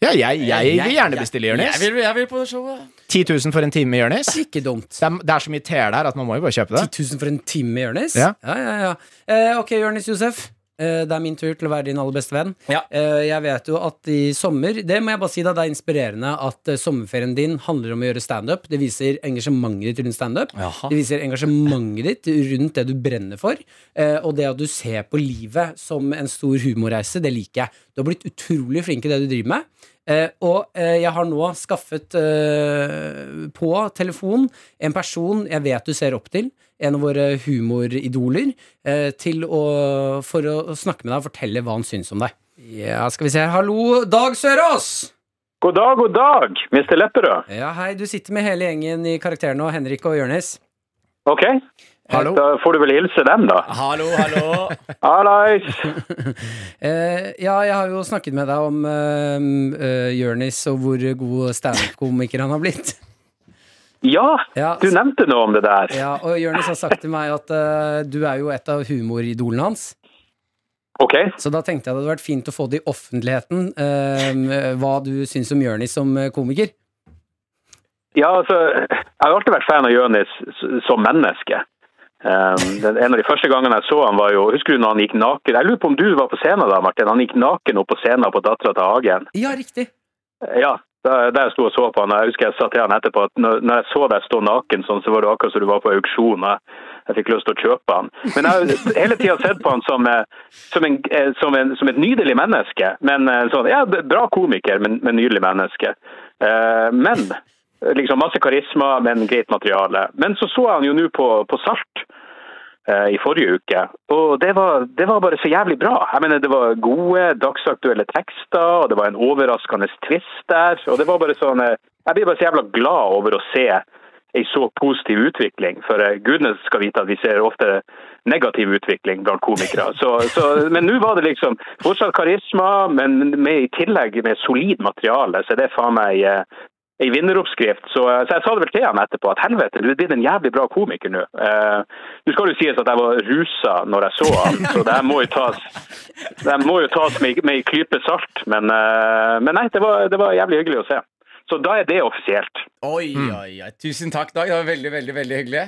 Speaker 3: Ja, jeg, jeg vil gjerne bestille
Speaker 1: Jeg
Speaker 3: Jonis.
Speaker 1: vil, jeg vil på det showet.
Speaker 3: 10 000 for en time med Jonis.
Speaker 2: Ikke dumt.
Speaker 3: Det, er- det er så mye teer der at man må jo bare kjøpe det.
Speaker 2: 10 000 for en time, Jonis?
Speaker 3: Ja.
Speaker 2: ja, ja. ja. Eh, ok, Jonis Josef. eh, det er min tur til å være din aller beste venn.
Speaker 1: Ja.
Speaker 2: Eh, jeg vet jo at i sommer Det må jeg bare si da, det er inspirerende at eh, sommerferien din handler om å gjøre standup. Det viser engasjementet ditt rundt standup.
Speaker 1: Jaha.
Speaker 2: Det viser engasjementet ditt rundt det du brenner for. eh, og det at du ser på livet som en stor humorreise, det liker jeg. Du har blitt utrolig flink i det du driver med. Eh, og eh, jeg har nå skaffet eh, på telefon en person jeg vet du ser opp til, en av våre humoridoler, eh, til å, for å snakke med deg og fortelle hva han syns om deg. Ja, skal vi se her. Hallo, Dag Sørås!
Speaker 4: God dag, god dag, Mr. Lepperød.
Speaker 2: Ja, hei, du sitter med hele gjengen i karakteren nå, Henrik og Jørnis.
Speaker 4: Ok,
Speaker 3: Hallo.
Speaker 4: da får du vel hilse dem, da.
Speaker 1: Hallo, hallo.
Speaker 4: (laughs) Hallais!
Speaker 2: Eh, ja, jeg har jo snakket med deg om eh, eh, Jørnis og hvor god standup-komiker han har blitt. (laughs)
Speaker 4: Ja,
Speaker 2: Ja,
Speaker 4: du nevnte noe om det der.
Speaker 2: Ja, og Jørnis har sagt til meg at eh, du er jo et av humoridolene hans.
Speaker 4: Ok,
Speaker 2: Så da tenkte jeg det hadde vært fint å få det i offentligheten, eh, hva du syns om Jørnis som eh, komiker.
Speaker 4: ja, altså, jeg har alltid vært fan av Jonis s- som menneske. Um, den- en av de første gangene jeg så han var jo, husker du når han gikk naken? Jeg lurer på om du var på scenen da, Martin. Han gikk naken opp på scenen på datteren til Hagen.
Speaker 2: Ja, riktig.
Speaker 4: Ja, der, der jeg sto og så på han. Jeg husker jeg sa til han etterpå at når, når jeg så deg stå naken sånn, så var det akkurat som du var på auksjon. og Jeg, jeg fikk lyst til å kjøpe han. Men jeg har hele tida sett på han som, eh, som, en, eh, som, en, som et nydelig menneske. Men eh, sånn, ja, b- Bra komiker, men, men nydelig menneske. Eh, men liksom masse karisma, men greit materiale. Men så så jeg han jo nå på, på Salt eh, i forrige uke. Og det var, det var bare så jævlig bra. Jeg mener, det var gode, dagsaktuelle tekster, og det var en overraskende twist der. Og det var bare sånn eh, Jeg blir bare så jævla glad over å se ei så positiv utvikling. For eh, gudene skal vite at vi ser ofte negativ utvikling blant komikere. Så, så, men nå var det liksom fortsatt karisma, men med, i tillegg med solid materiale. Så det er faen meg eh, ei vinneroppskrift. Så, eh, så jeg sa det vel til han etterpå, at helvete, du er blitt en jævlig bra komiker nå. Eh, Nå skal det jo sies at jeg var rusa når jeg så han, så det her må jo tas, det her må jo tas med, med ei klype salt. Men, eh, men nei, det var, det var jævlig hyggelig å se. Så da er det offisielt.
Speaker 1: Oi,
Speaker 3: Mm.
Speaker 1: oi, oi. Tusen takk, Dag. Det var veldig, veldig veldig hyggelig.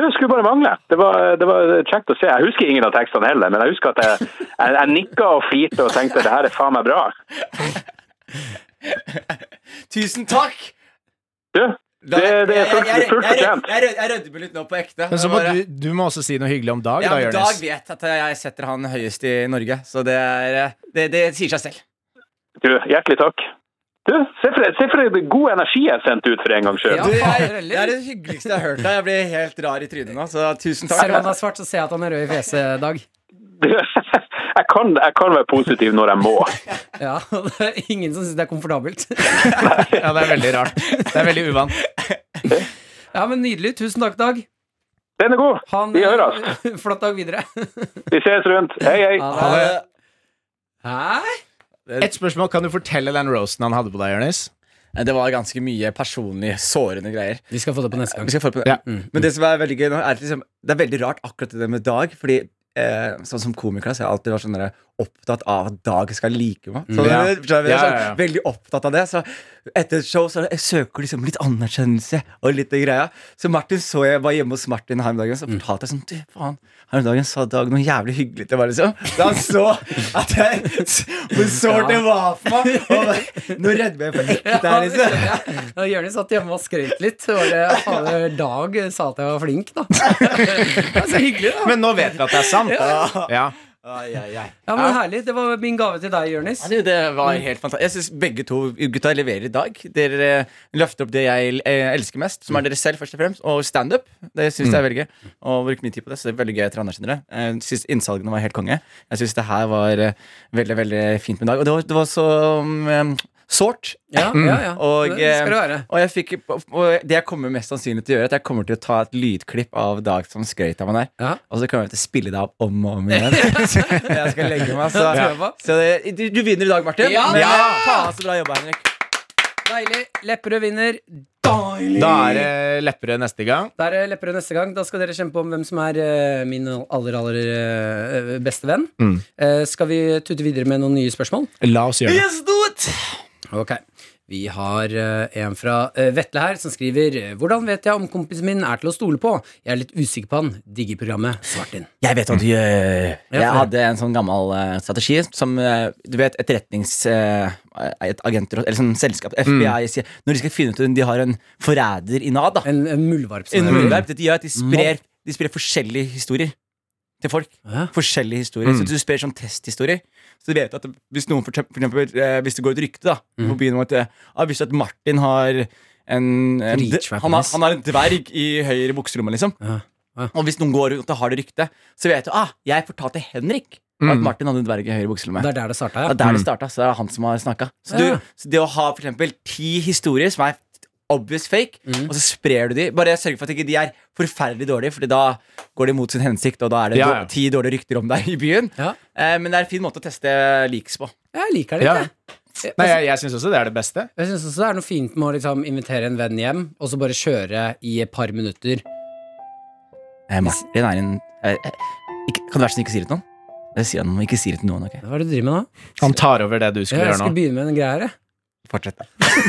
Speaker 4: Det skulle bare mangle. Det var, det var kjekt å se. Jeg husker ingen av tekstene heller, men jeg husker at jeg, jeg, jeg nikka og flirte og tenkte det her er faen meg bra.
Speaker 1: Tusen takk!
Speaker 4: Du, det, det er fullt, fullt fortjent.
Speaker 1: Jeg, jeg, jeg rødmer litt nå på ekte.
Speaker 3: Men så
Speaker 1: Det
Speaker 3: må
Speaker 1: var-
Speaker 3: du, du må også si noe hyggelig om Dag,
Speaker 1: ja,
Speaker 3: da,
Speaker 1: men Dag
Speaker 3: Jonis.
Speaker 1: vet at jeg setter han høyest i Norge, så det, er, eh, det, det sier seg selv.
Speaker 4: Du, hjertelig takk. Du, se for, se for en god energi jeg sendte ut for en gangs skyld.
Speaker 2: Ja,
Speaker 1: Du, jeg,
Speaker 2: fader heller.
Speaker 1: det er det hyggeligste jeg har hørt deg. Jeg blir helt rar i trynet nå, så
Speaker 2: (laughs)
Speaker 1: tusen
Speaker 2: Selv om han
Speaker 1: takk.
Speaker 2: er svart, så ser jeg at han er rød i fjeset, Dag.
Speaker 4: Du, (laughs) Jeg kan, jeg kan være positiv når jeg må.
Speaker 2: Ja, (laughs) og det er ingen som syns det er komfortabelt. (laughs)
Speaker 3: Ja, det er veldig rart. Det er veldig
Speaker 1: (laughs)
Speaker 3: uvant.
Speaker 2: Ja, men nydelig. Tusen takk, Dag.
Speaker 4: Den er god.
Speaker 2: Han,
Speaker 4: Vi høres.
Speaker 2: (laughs) Flott dag videre.
Speaker 4: Vi ses rundt. Hei, hei.
Speaker 2: Ha det. Hæ?
Speaker 3: Et spørsmål, kan du fortelle den roasten han hadde på deg, Jonis?
Speaker 1: Det var ganske mye personlig sårende greier.
Speaker 2: Vi skal få det på neste
Speaker 1: Vi
Speaker 2: gang.
Speaker 1: skal få på det. Mm.
Speaker 3: Ja. Mm.
Speaker 1: Men det som er veldig gøy nå, er at liksom, det er veldig rart akkurat det der med Dag. Fordi eh, sånn som komiker så har jeg alltid vært sånn der opptatt av at Dag skal like meg. Så,
Speaker 3: Mm. Ja.
Speaker 1: skjønner du? Jeg er
Speaker 3: Ja,
Speaker 1: sånn
Speaker 3: ja, ja.
Speaker 1: Veldig opptatt av det. Så etter et show så jeg søker liksom litt anerkjennelse og litt det greia. Så Martin så jeg var hjemme hos Martin her om
Speaker 3: Mm.
Speaker 1: dagen, så fortalte jeg sånn Du, faen, her om dagen sa Dag noe jævlig hyggelig til meg, liksom. Da han så at jeg Hvor sårt det var for meg. Og nå redder jeg meg for ekte her, liksom.
Speaker 2: Ja, Jørnis satt hjemme og skrøt litt. Det var det fader Dag sa at jeg var flink, da. Det er så hyggelig, da.
Speaker 3: Men nå vet vi at det er sant. Ja.
Speaker 1: Ai, ai, ai.
Speaker 2: Ja, men Herlig. Det var min gave til deg, Jørnis.
Speaker 1: Ja, du, det var helt fantastisk Jeg synes begge to gutta leverer i dag Dere eh, løfter opp det jeg eh, elsker mest
Speaker 2: Mm.
Speaker 1: Som er dere selv først og fremst Og stand-up, det synes jeg er veldig gøy Og bruker mye tid på det, så det er veldig gøy at dere anerkjenner det Jeg synes innsalgene var helt konge Jeg synes det her var eh, veldig, veldig fint med dag Og det var, det var så um, sårt
Speaker 2: Ja, ja, ja.
Speaker 1: Mm. Og,
Speaker 2: det skal det være.
Speaker 1: eh, og, jeg fikk, og det jeg kommer mest sannsynlig til å gjøre Er at jeg kommer til å ta et lydklipp av Dag som skrøyt av han her
Speaker 2: Ja.
Speaker 1: Og så kommer jeg til å spille det av om og
Speaker 2: (laughs)
Speaker 1: om igjen Så Jeg skal legge meg så,
Speaker 2: Det tror jeg på.
Speaker 1: så det, du, du vinner i dag, Martin
Speaker 2: Ja!
Speaker 1: Men, eh,
Speaker 2: Ja!
Speaker 1: faen, så bra jobba, Henrik
Speaker 2: Deilig. Lepperød vinner. Deilig!
Speaker 3: Da er det Lepperød neste gang.
Speaker 2: Da er det Lepperød neste gang. Da skal dere kjempe om hvem som er eh, min aller, aller eh, beste venn.
Speaker 1: Mm.
Speaker 2: Eh, skal vi tute videre med noen nye spørsmål?
Speaker 3: La oss gjøre det.
Speaker 1: Yes, do it!
Speaker 2: Ok. Vi har eh, en fra eh, Vetle her, som skriver Hvordan vet jeg om kompisen min er til å stole på? Jeg er litt usikker på han. Digger programmet. Svart inn.
Speaker 1: Jeg vet hva du gjør. Jeg
Speaker 2: Ja.
Speaker 1: hadde en sånn gammel eh, strategi som eh, du vet, etterretningsagenter eller sånn selskap,
Speaker 2: Mm.
Speaker 1: FBI, sier når de skal finne ut om de har en forræder i Nav, da.
Speaker 2: En, sånn en muldvarp. som
Speaker 1: En
Speaker 2: er-
Speaker 1: muldvarp. Det gjør at de sprer, de sprer forskjellige historier til folk.
Speaker 2: Hæ?
Speaker 1: Forskjellige historier Så du sprer sånn testhistorier. Så du vet at hvis noen for eksempel, for eksempel eh, Hvis det går et rykte da på byen om at eh, ah, Hvis at Martin har en, en
Speaker 2: Drittrap,
Speaker 1: han, har,
Speaker 2: ass.
Speaker 1: han har en dverg i høyre bukselommet, liksom.
Speaker 2: Ja. Ja.
Speaker 1: Og hvis noen går ut og har det ryktet, så vet du ah, jeg fortalte Henrik og at Martin hadde en dverg i høyre bukselomme.
Speaker 2: Det er der det starta,
Speaker 1: Det
Speaker 2: ja.
Speaker 1: er der det starta, så det er han som har snakka. Så,
Speaker 2: Ja.
Speaker 1: du- så det å ha for eksempel ti historier som er obvious fake, og så sprer du de Bare sørg for at ikke de er forferdelig dårlige, Fordi da går de mot sin hensikt, og da er det
Speaker 3: Ja, ja.
Speaker 1: dår- ti dårlige rykter om deg i byen.
Speaker 2: Ja.
Speaker 1: Eh, men det er en fin måte å teste leaks på.
Speaker 2: Jeg liker det
Speaker 3: Ja.
Speaker 2: litt, jeg. jeg.
Speaker 3: Nei,
Speaker 2: jeg-
Speaker 3: jeg, jeg syns også det er det beste.
Speaker 2: Jeg synes også det er noe fint med å liksom invitere en venn hjem, og så bare kjøre i et par minutter.
Speaker 1: Eh, Martin er en eh, eh, ikke, Kan det være sånn ikke sier det til noen? Det sier han, men ikke sier det til noen. ok
Speaker 2: Hva er det du driver med nå?
Speaker 3: Han tar over det du
Speaker 2: Jeg,
Speaker 3: skulle gjøre
Speaker 2: skal
Speaker 3: nå.
Speaker 2: begynne med den greia her,
Speaker 1: (laughs)
Speaker 2: jeg.
Speaker 1: Fortsett.
Speaker 2: Du har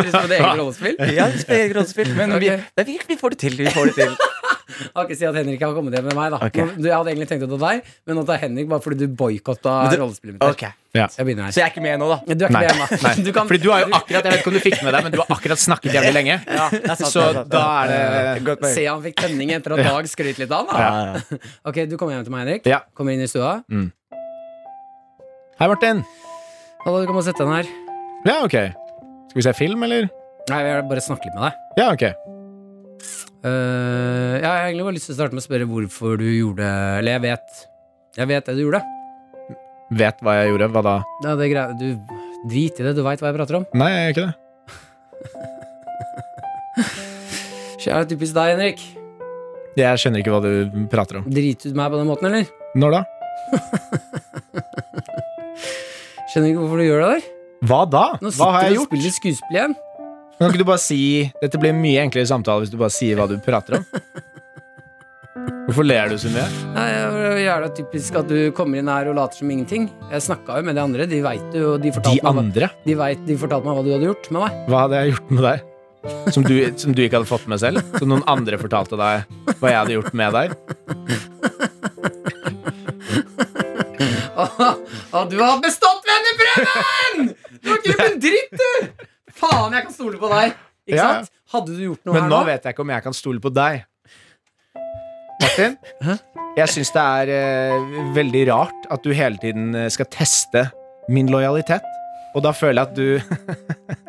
Speaker 2: lyst på det eget rollespill?
Speaker 1: Ja, det spiller eget rollespill, men vi,
Speaker 2: Ok.
Speaker 1: det er vi, vi får det til. Vi får det (laughs) til.
Speaker 2: Ok, Si at Henrik har kommet hjem med meg, da.
Speaker 1: Ok.
Speaker 2: Nå- du- Jeg hadde egentlig tenkt at det var deg, men nå tar jeg Henrik bare fordi du boikotta
Speaker 1: Men du-
Speaker 2: rollespillet mitt. her.
Speaker 3: Ja.
Speaker 2: Jeg begynner her.
Speaker 1: Så jeg er ikke med nå, da.
Speaker 2: Du er ikke
Speaker 3: Nei.
Speaker 2: med hjemme.
Speaker 3: Nei.
Speaker 2: (laughs) Du kan-
Speaker 3: Fordi du har jo akkurat Jeg vet ikke om du fikk med deg, men du har akkurat snakket jævlig lenge. Så da er det
Speaker 1: Godt poeng.
Speaker 2: Se han fikk tenning etter at Dag skrøt litt av han. da.
Speaker 1: Ja, ja.
Speaker 2: Ok, du kommer hjem til meg, Henrik.
Speaker 3: Ja.
Speaker 2: Kommer inn i stua.
Speaker 3: Hei, Martin.
Speaker 2: Hallo, du kan bare sette den her.
Speaker 3: Ja, ok. Skal vi se film, eller?
Speaker 2: Nei, jeg vil bare snakke litt med deg.
Speaker 3: Ja, ok.
Speaker 2: Eh, jeg har egentlig bare lyst til å starte med å spørre hvorfor du gjorde Eller jeg vet Jeg vet det du gjorde.
Speaker 3: Vet hva jeg gjorde. Hva da?
Speaker 2: Det er det greia Du Drit i det, du veit hva jeg prater om.
Speaker 3: Nei, jeg gjør ikke det.
Speaker 2: Kjære typisk deg, Henrik.
Speaker 3: Jeg skjønner ikke hva du prater om.
Speaker 2: Driter du meg på den måten, eller?
Speaker 3: Når da?
Speaker 2: Skjønner ikke hvorfor du gjør det der.
Speaker 3: Hva da?
Speaker 2: Nå
Speaker 3: Hva har
Speaker 2: sitter
Speaker 3: jeg
Speaker 2: du og
Speaker 3: gjort?
Speaker 2: spiller skuespill igjen.
Speaker 3: Kan ikke du bare si Dette blir en mye enklere samtale hvis du bare sier hva du
Speaker 2: (laughs)
Speaker 3: prater om. Hvorfor ler du så mye?
Speaker 2: Nei, det er jævla typisk at du kommer inn her og later som ingenting. Jeg snakka jo med de andre, de veit jo De
Speaker 3: De
Speaker 2: fortalte, meg,
Speaker 3: andre?
Speaker 2: hva- de, vet, de fortalte meg hva du hadde gjort med meg. (laughs)
Speaker 3: Hva hadde jeg gjort med deg? Som du, som du ikke hadde fått med selv? Som noen andre fortalte deg hva jeg hadde gjort med deg?
Speaker 2: Og du har bestått venneprøven! Du har ikke gjort en dritt, du! Faen, jeg kan stole på deg. Ikke
Speaker 3: Ja.
Speaker 2: sant? Hadde du gjort noe
Speaker 3: Men
Speaker 2: her
Speaker 3: nå vet jeg ikke om jeg kan stole på deg.
Speaker 2: (laughs)
Speaker 3: Martin, jeg syns det er eh, veldig rart at du hele tiden eh, skal teste min lojalitet. Og da føler jeg at du (laughs)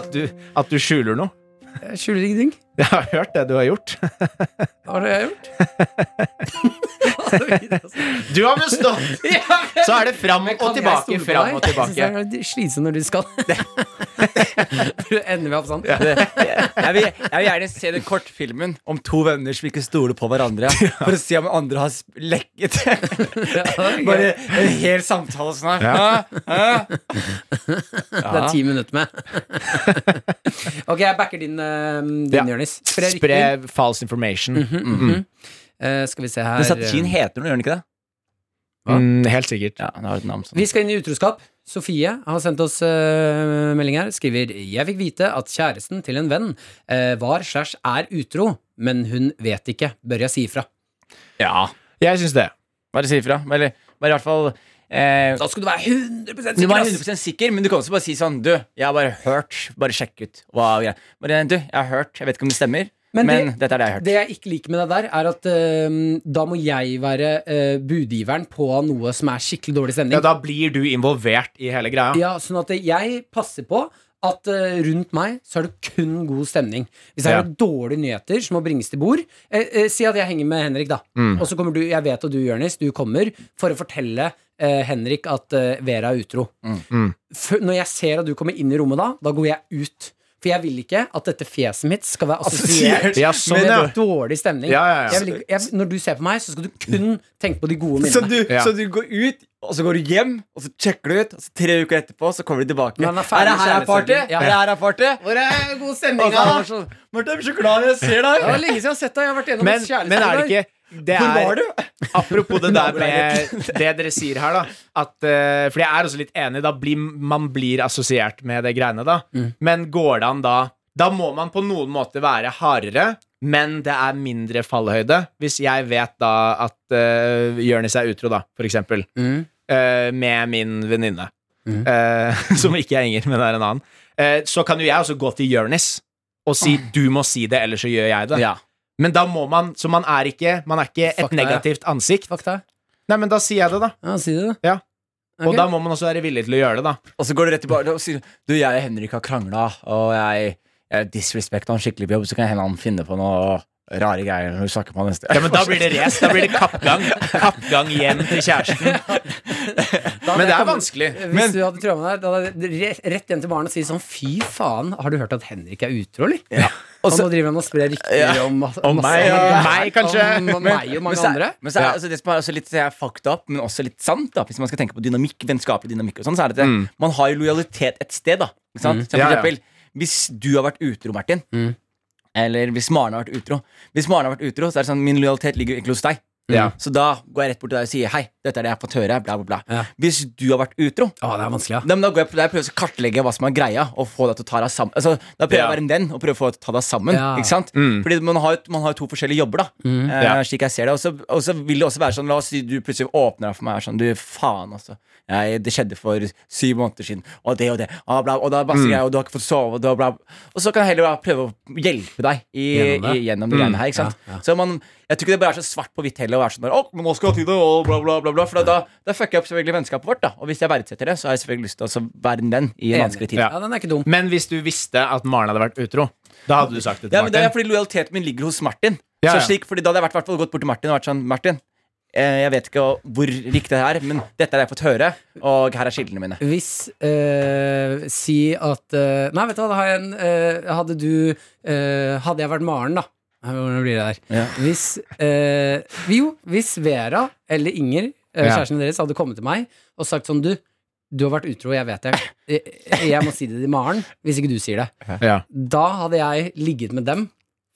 Speaker 3: At du, at du skjuler noe. (laughs)
Speaker 2: Jeg Eh, skjuler ingenting.
Speaker 3: Jeg har hørt det du har gjort.
Speaker 2: Hva har jeg
Speaker 3: (laughs)
Speaker 2: gjort? Hva har jeg gjort?
Speaker 3: Du har bestått! (laughs) Så er det fram og
Speaker 2: Men kan jeg
Speaker 3: tilbake,
Speaker 2: stole på
Speaker 3: fram
Speaker 2: deg?
Speaker 3: og tilbake.
Speaker 2: Jeg synes det er slitsomt når du
Speaker 3: (laughs)
Speaker 2: skal. (laughs) Du ender vi opp sånn.
Speaker 1: jeg, vil, jeg vil gjerne se den kortfilmen om to venner som ikke stoler på
Speaker 3: (laughs)
Speaker 1: hverandre. For å se om andre har sp- lekket. (laughs)
Speaker 2: Ja, (laughs) det er gøy.
Speaker 1: Bare en hel samtale sånn her.
Speaker 3: Ja.
Speaker 1: Hæ? Hæ?
Speaker 2: Det er ti minutter
Speaker 3: (laughs)
Speaker 2: med. ok, jeg backer din, eh, din
Speaker 3: Ja.
Speaker 2: Jonis. Spre Mhm. rykter.
Speaker 3: Spre false information.
Speaker 2: Eh, skal vi se her
Speaker 1: Men strategien heter noe, gjør den ikke det?
Speaker 2: Hva?
Speaker 3: Mm, helt sikkert.
Speaker 1: Ja, det har et navn sånn.
Speaker 2: Vi skal inn i utroskap. Sofie har sendt oss eh, melding her. Skriver Jeg fikk vite at kjæresten til en venn eh, var slash er utro, men hun vet ikke. Bør jeg si ifra?
Speaker 1: Ja.
Speaker 3: Jeg syns det.
Speaker 1: Bare si ifra. Eller bare i hvert fall eh,
Speaker 2: Da skal du være 100
Speaker 1: du må
Speaker 2: sikker!
Speaker 1: være
Speaker 2: ass.
Speaker 1: 100 sikker, men du kan også bare si sånn Du, jeg har bare hørt. Bare sjekk ut. Hva er greia. Bare, du, jeg har hørt. Jeg vet ikke om det stemmer,
Speaker 2: Men
Speaker 1: men,
Speaker 2: det-
Speaker 1: dette er det jeg har hørt.
Speaker 2: Det jeg ikke liker med det der, er at eh, da må jeg være eh, budgiveren på noe som er skikkelig dårlig stemning.
Speaker 3: Ja, da blir du involvert i hele greia.
Speaker 2: Ja, sånn at jeg passer på at eh, rundt meg så er det kun god stemning. Hvis det
Speaker 3: Ja.
Speaker 2: er noen dårlige nyheter som må bringes til bord eh, eh, Si at jeg henger med Henrik, da. Og så kommer du, jeg vet og du, Jonis, du kommer for å fortelle eh, Henrik at eh, Vera er utro. Før- når jeg ser at du kommer inn i rommet da, da går jeg ut. For jeg vil ikke at dette fjeset mitt skal være assosiert
Speaker 3: Ja, sånn,
Speaker 2: med
Speaker 3: ja.
Speaker 2: dårlig stemning.
Speaker 3: Ja, ja, ja.
Speaker 2: Jeg vil ikke, jeg, når du ser på meg, så skal du kun tenke på de gode
Speaker 1: Så
Speaker 2: minnene.
Speaker 1: du,
Speaker 3: Ja.
Speaker 1: så du går ut, og så går du hjem, og så sjekker du ut. Og så Tre uker etterpå så kommer du tilbake.
Speaker 2: Når han er ferdig
Speaker 1: det her
Speaker 2: med
Speaker 1: er party?
Speaker 2: kjærligheten. Ja.
Speaker 1: Er det her er party?
Speaker 2: Hvor er god
Speaker 1: Og
Speaker 2: stemning,
Speaker 1: så er han sånn, Martha, jeg blir så glad når jeg ser deg.
Speaker 2: Det var lenge siden jeg har sett deg. Jeg har vært gjennom
Speaker 3: Men, men er det ikke det
Speaker 1: Hvor
Speaker 3: er,
Speaker 1: var du?
Speaker 3: (laughs) Apropos det der med det dere sier her, da. At, eh, fordi jeg er også litt enig, da blir, man blir assosiert med det greiene, da. Men går det an da Da må man på noen måte være hardere, men det er mindre fallhøyde. Hvis jeg vet da at uh, Jonis er utro, da, for eksempel, eh, med min venninne, eh, (laughs) som ikke jeg henger med, det er en annen, eh, så kan jo jeg også gå til Jonis og si 'du må si det, ellers så gjør jeg det'.
Speaker 1: Ja.
Speaker 3: Men da må man Så man er ikke, man er ikke
Speaker 2: Fuck
Speaker 3: et
Speaker 2: deg, ja.
Speaker 3: negativt ansikt.
Speaker 2: Fakta.
Speaker 3: Nei, men da sier jeg det, da.
Speaker 2: Ja, si det, da.
Speaker 3: Ja. Og
Speaker 2: Ok.
Speaker 3: da må man også være villig til å gjøre det, da.
Speaker 1: Og så går du rett tilbake og sier Du, jeg og Henrik har krangla, og jeg, jeg disrespekta han skikkelig på jobb, så kan hende han finne på noe rare greier når du snakker med han neste
Speaker 3: Ja, men da blir
Speaker 1: (laughs)
Speaker 3: det race. Da blir det kappgang. Kappgang hjem til kjæresten.
Speaker 2: Da hadde
Speaker 3: Men det er
Speaker 2: jeg kommet-
Speaker 3: vanskelig.
Speaker 2: Hvis
Speaker 3: Men,
Speaker 2: du hadde trua meg der, da hadde jeg re- rett hjem til baren og si sånn Fy faen, har du hørt at Henrik er utro, eller? Og nå driver han og sprer rykter
Speaker 1: Ja.
Speaker 2: om masse-
Speaker 3: Om
Speaker 2: masse-
Speaker 3: meg, ja. Meg, kanskje.
Speaker 2: Om, om meg og mange
Speaker 1: men så, er-
Speaker 2: andre.
Speaker 1: Men så er,
Speaker 3: Ja.
Speaker 1: altså, det som er også litt eh, fucked up, men også litt sant, da, hvis man skal tenke på dynamikk, vennskapelig dynamikk, og sånn, så er det at eh, man har jo lojalitet et sted. da ikke sant? Så for
Speaker 3: Mm. Ja, Mm. ja.
Speaker 1: eksempel, Hvis du har vært utro, Martin, eller hvis Maren har vært utro Hvis Maren har vært utro, så er det sånn min lojalitet ligger jo egentlig hos deg.
Speaker 3: Ja.
Speaker 1: Så da går jeg rett bort til deg og sier hei, dette er det jeg har fått høre. Bla, bla, bla.
Speaker 2: Ja.
Speaker 1: Hvis du har vært utro,
Speaker 2: Å, det er vanskelig, ja.
Speaker 1: da, men da går jeg på deg og prøver å kartlegge hva som er greia, og få deg til å ta deg sammen. Altså, da prøver jeg å
Speaker 3: Ja.
Speaker 1: være en venn og prøver å få deg til å ta deg sammen.
Speaker 2: Ja. Mm.
Speaker 1: Ikke sant? Fordi man har, jo- man har jo to forskjellige jobber, da. Eh,
Speaker 3: Ja.
Speaker 1: Slik jeg ser det. Og så- Og så vil det også være sånn, la oss si du plutselig åpner deg for meg og er sånn, du faen, altså. Jeg, det skjedde for syv måneder siden, og det og det, og, bla, og da
Speaker 2: Mm.
Speaker 1: masse greier, og du har ikke fått sove, og da bla. Og så kan jeg heller bare prøve å hjelpe deg i,
Speaker 2: Gjennom det.
Speaker 1: i, gjennom det greiene her, ikke sant.
Speaker 2: Ja, ja.
Speaker 1: Så man, jeg tror ikke det bare er så svart på hvitt heller å være sånn der, å, men nå skal jeg til det, og bla, bla, bla, bla. For da, da fucker jeg opp selvfølgelig vennskapet vårt, da. Og hvis jeg verdsetter det, så har jeg selvfølgelig lyst til å være en venn i en
Speaker 2: Enig.
Speaker 1: vanskelig tid.
Speaker 2: Ja.
Speaker 1: Ja.
Speaker 2: den er ikke dum.
Speaker 3: men hvis du visste at Maren hadde vært utro, da hadde du sagt det til
Speaker 1: men det er
Speaker 3: Martin.
Speaker 1: fordi lojaliteten min ligger hos Martin.
Speaker 3: Ja, ja.
Speaker 1: Så slik, fordi Da hadde jeg vært, hvertfall gått bort til Martin og vært sånn Martin, eh, jeg vet ikke hvor riktig det er, men dette har jeg fått høre, og her er kildene mine.
Speaker 2: Hvis eh, Si at eh, Nei, vet du hva, da har jeg en eh, Hadde du eh, Hadde jeg vært Maren, da Nei, Hvordan blir det der?
Speaker 1: Ja.
Speaker 2: Hvis eh, Jo, hvis Vera eller Inger, eh,
Speaker 3: Ja.
Speaker 2: kjæresten deres, hadde kommet til meg og sagt sånn Du, du har vært utro, jeg vet det. Jeg, jeg må si det til Maren, hvis ikke du sier det.
Speaker 3: Ja.
Speaker 2: Da hadde jeg ligget med dem.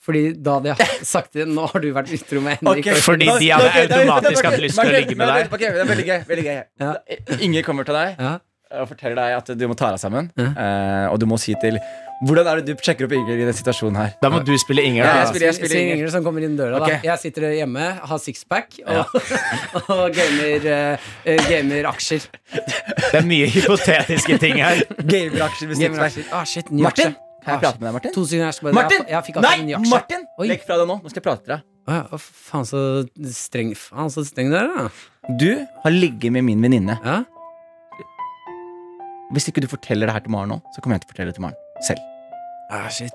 Speaker 2: Fordi da hadde jeg (laughs) sagt til dem, Nå har du vært utro med Henrik.
Speaker 1: Ok.
Speaker 3: Fordi
Speaker 1: Da-
Speaker 3: de
Speaker 1: da-
Speaker 3: hadde
Speaker 1: ok, da-
Speaker 3: automatisk
Speaker 1: da-
Speaker 3: hatt lyst til å
Speaker 1: Martin,
Speaker 3: ligge med
Speaker 1: nei,
Speaker 3: deg.
Speaker 1: ok, det er veldig gøy. veldig gøy
Speaker 2: Ja.
Speaker 1: Da- Inger kommer til deg
Speaker 2: Ja.
Speaker 1: og forteller deg at du må ta deg sammen. eh, Og du må si til Hvordan er det du sjekker opp Inger i den situasjonen her?
Speaker 3: Da må du spille Inger,
Speaker 1: Ja, jeg
Speaker 3: da.
Speaker 1: spiller- jeg spiller
Speaker 2: Sier
Speaker 1: Inger.
Speaker 2: Ingrid som kommer inn døra.
Speaker 1: Ok.
Speaker 2: Da. Jeg sitter hjemme, har sixpack og, (laughs) og gamer, eh, gamer aksjer.
Speaker 3: Det er mye hypotetiske ting her.
Speaker 1: Gameraksjer med
Speaker 2: Gamer
Speaker 1: sixpack.
Speaker 2: aksjer. Ah, shit, ny
Speaker 1: Martin?
Speaker 2: aksje.
Speaker 1: Kan jeg
Speaker 2: Ah,
Speaker 1: prate
Speaker 2: shit.
Speaker 1: med deg, Martin?
Speaker 2: To sekunder her, så bare
Speaker 1: Martin!
Speaker 2: Jeg, jeg fikk akkurat en ny
Speaker 1: Nei,
Speaker 2: aksje.
Speaker 1: Martin!
Speaker 2: Oi.
Speaker 1: Legg fra deg nå. Nå skal jeg prate til deg.
Speaker 2: Å ja, å, faen så streng Faen så streng du er, da.
Speaker 1: Du har ligget med min venninne.
Speaker 2: Ja?
Speaker 1: Hvis ikke du forteller det her til Maren nå, så kommer jeg til å fortelle det til Maren selv.
Speaker 2: Ah, shit.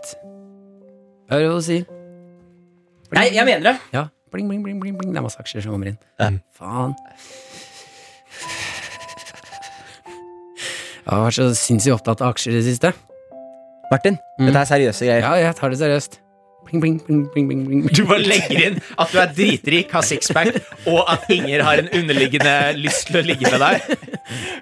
Speaker 2: Hva er det å si?
Speaker 1: Nei, jeg mener det.
Speaker 2: Ja. Bling, bling, bling, bling, bling. Det er masse aksjer som kommer inn. Faen. Jeg har vært så sinnssykt opptatt av aksjer i det siste.
Speaker 1: Martin,
Speaker 2: Mm.
Speaker 1: dette er seriøse greier.
Speaker 2: Ja, jeg tar det seriøst. Bling, bling, bling, bling, bling, bling.
Speaker 3: Du bare legger inn at du er dritrik, har sixpack, og at Inger har en underliggende lyst til å ligge med deg.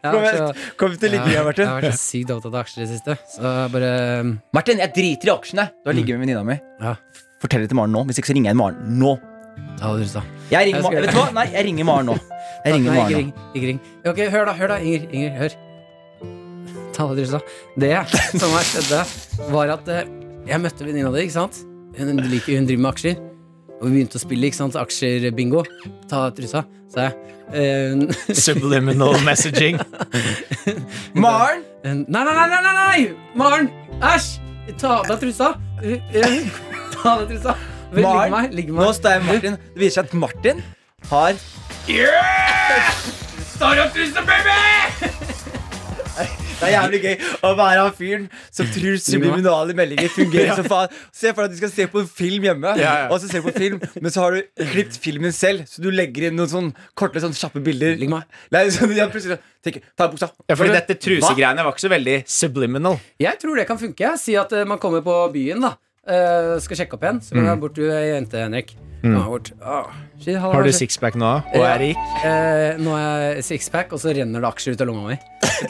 Speaker 2: Ja,
Speaker 1: Kom,
Speaker 2: så-
Speaker 1: jeg- kom til ligginga,
Speaker 2: Ja, Jeg
Speaker 1: Martin.
Speaker 2: har vært så sykt opptatt av aksjer i det siste. Så jeg bare
Speaker 1: Martin, jeg driter i aksjene. Du har ligget med venninna mi.
Speaker 2: Ja,
Speaker 1: Fortell det til Maren nå. Hvis ikke så ringer jeg Maren nå.
Speaker 2: ta det du sa.
Speaker 1: Jeg ringer
Speaker 2: Jeg skal
Speaker 1: Maren.
Speaker 2: gjøre
Speaker 1: Vet du hva? Nei, jeg ringer Maren nå. Jeg
Speaker 2: Nei,
Speaker 1: ringer
Speaker 2: ikke
Speaker 1: Maren
Speaker 2: ring.
Speaker 1: nå.
Speaker 2: Ikke ring. Ok, hør da, hør da, Inger. Inger, hør. Ta det du sa. Det (laughs) som her skjedde, var at eh, jeg møtte venninna di, ikke sant? Hun, liker, hun driver med aksjer. Og vi begynte å spille ikke sant? aksjer-bingo. Ta av trusa, sa jeg. Eh, hun- (laughs)
Speaker 3: Subliminal messaging.
Speaker 1: Maren!
Speaker 2: hun- nei, nei, nei, nei, nei, nei! Maren! Æsj! Ta av deg trusa! Eh, eh, (laughs) Ta av deg trusa. Vel, Ligg med meg. Ligg med
Speaker 1: Nå
Speaker 2: meg.
Speaker 1: står jeg med Martin. Det viser seg at Martin har Står opp, baby! Det er jævlig gøy å være han fyren som tror subliminale meldinger fungerer som faen. Se for deg at du skal se på en film hjemme,
Speaker 3: Ja, ja.
Speaker 1: og så ser du på film, men så har du klippet filmen selv, så du legger inn noen sånn korte, sånn kjappe bilder.
Speaker 2: Ligg med meg.
Speaker 1: Nei, så jeg plutselig sånn, tenker Ta av buksa.
Speaker 3: Ja, fordi dette trusegreiene var ikke så veldig subliminal.
Speaker 2: Jeg tror det kan funke. jeg. Si at eh, man kommer på byen, da. eh, skal sjekke opp igjen. Så kommer
Speaker 3: Mm.
Speaker 2: jeg bort til ei jente, Henrik. Kommer jeg Bort. Ah, shit, hallo,
Speaker 3: Har du
Speaker 2: Henrik.
Speaker 3: sixpack nå og er rik?
Speaker 2: Eh, nå er jeg sixpack, og så renner det aksjer ut av lomma mi.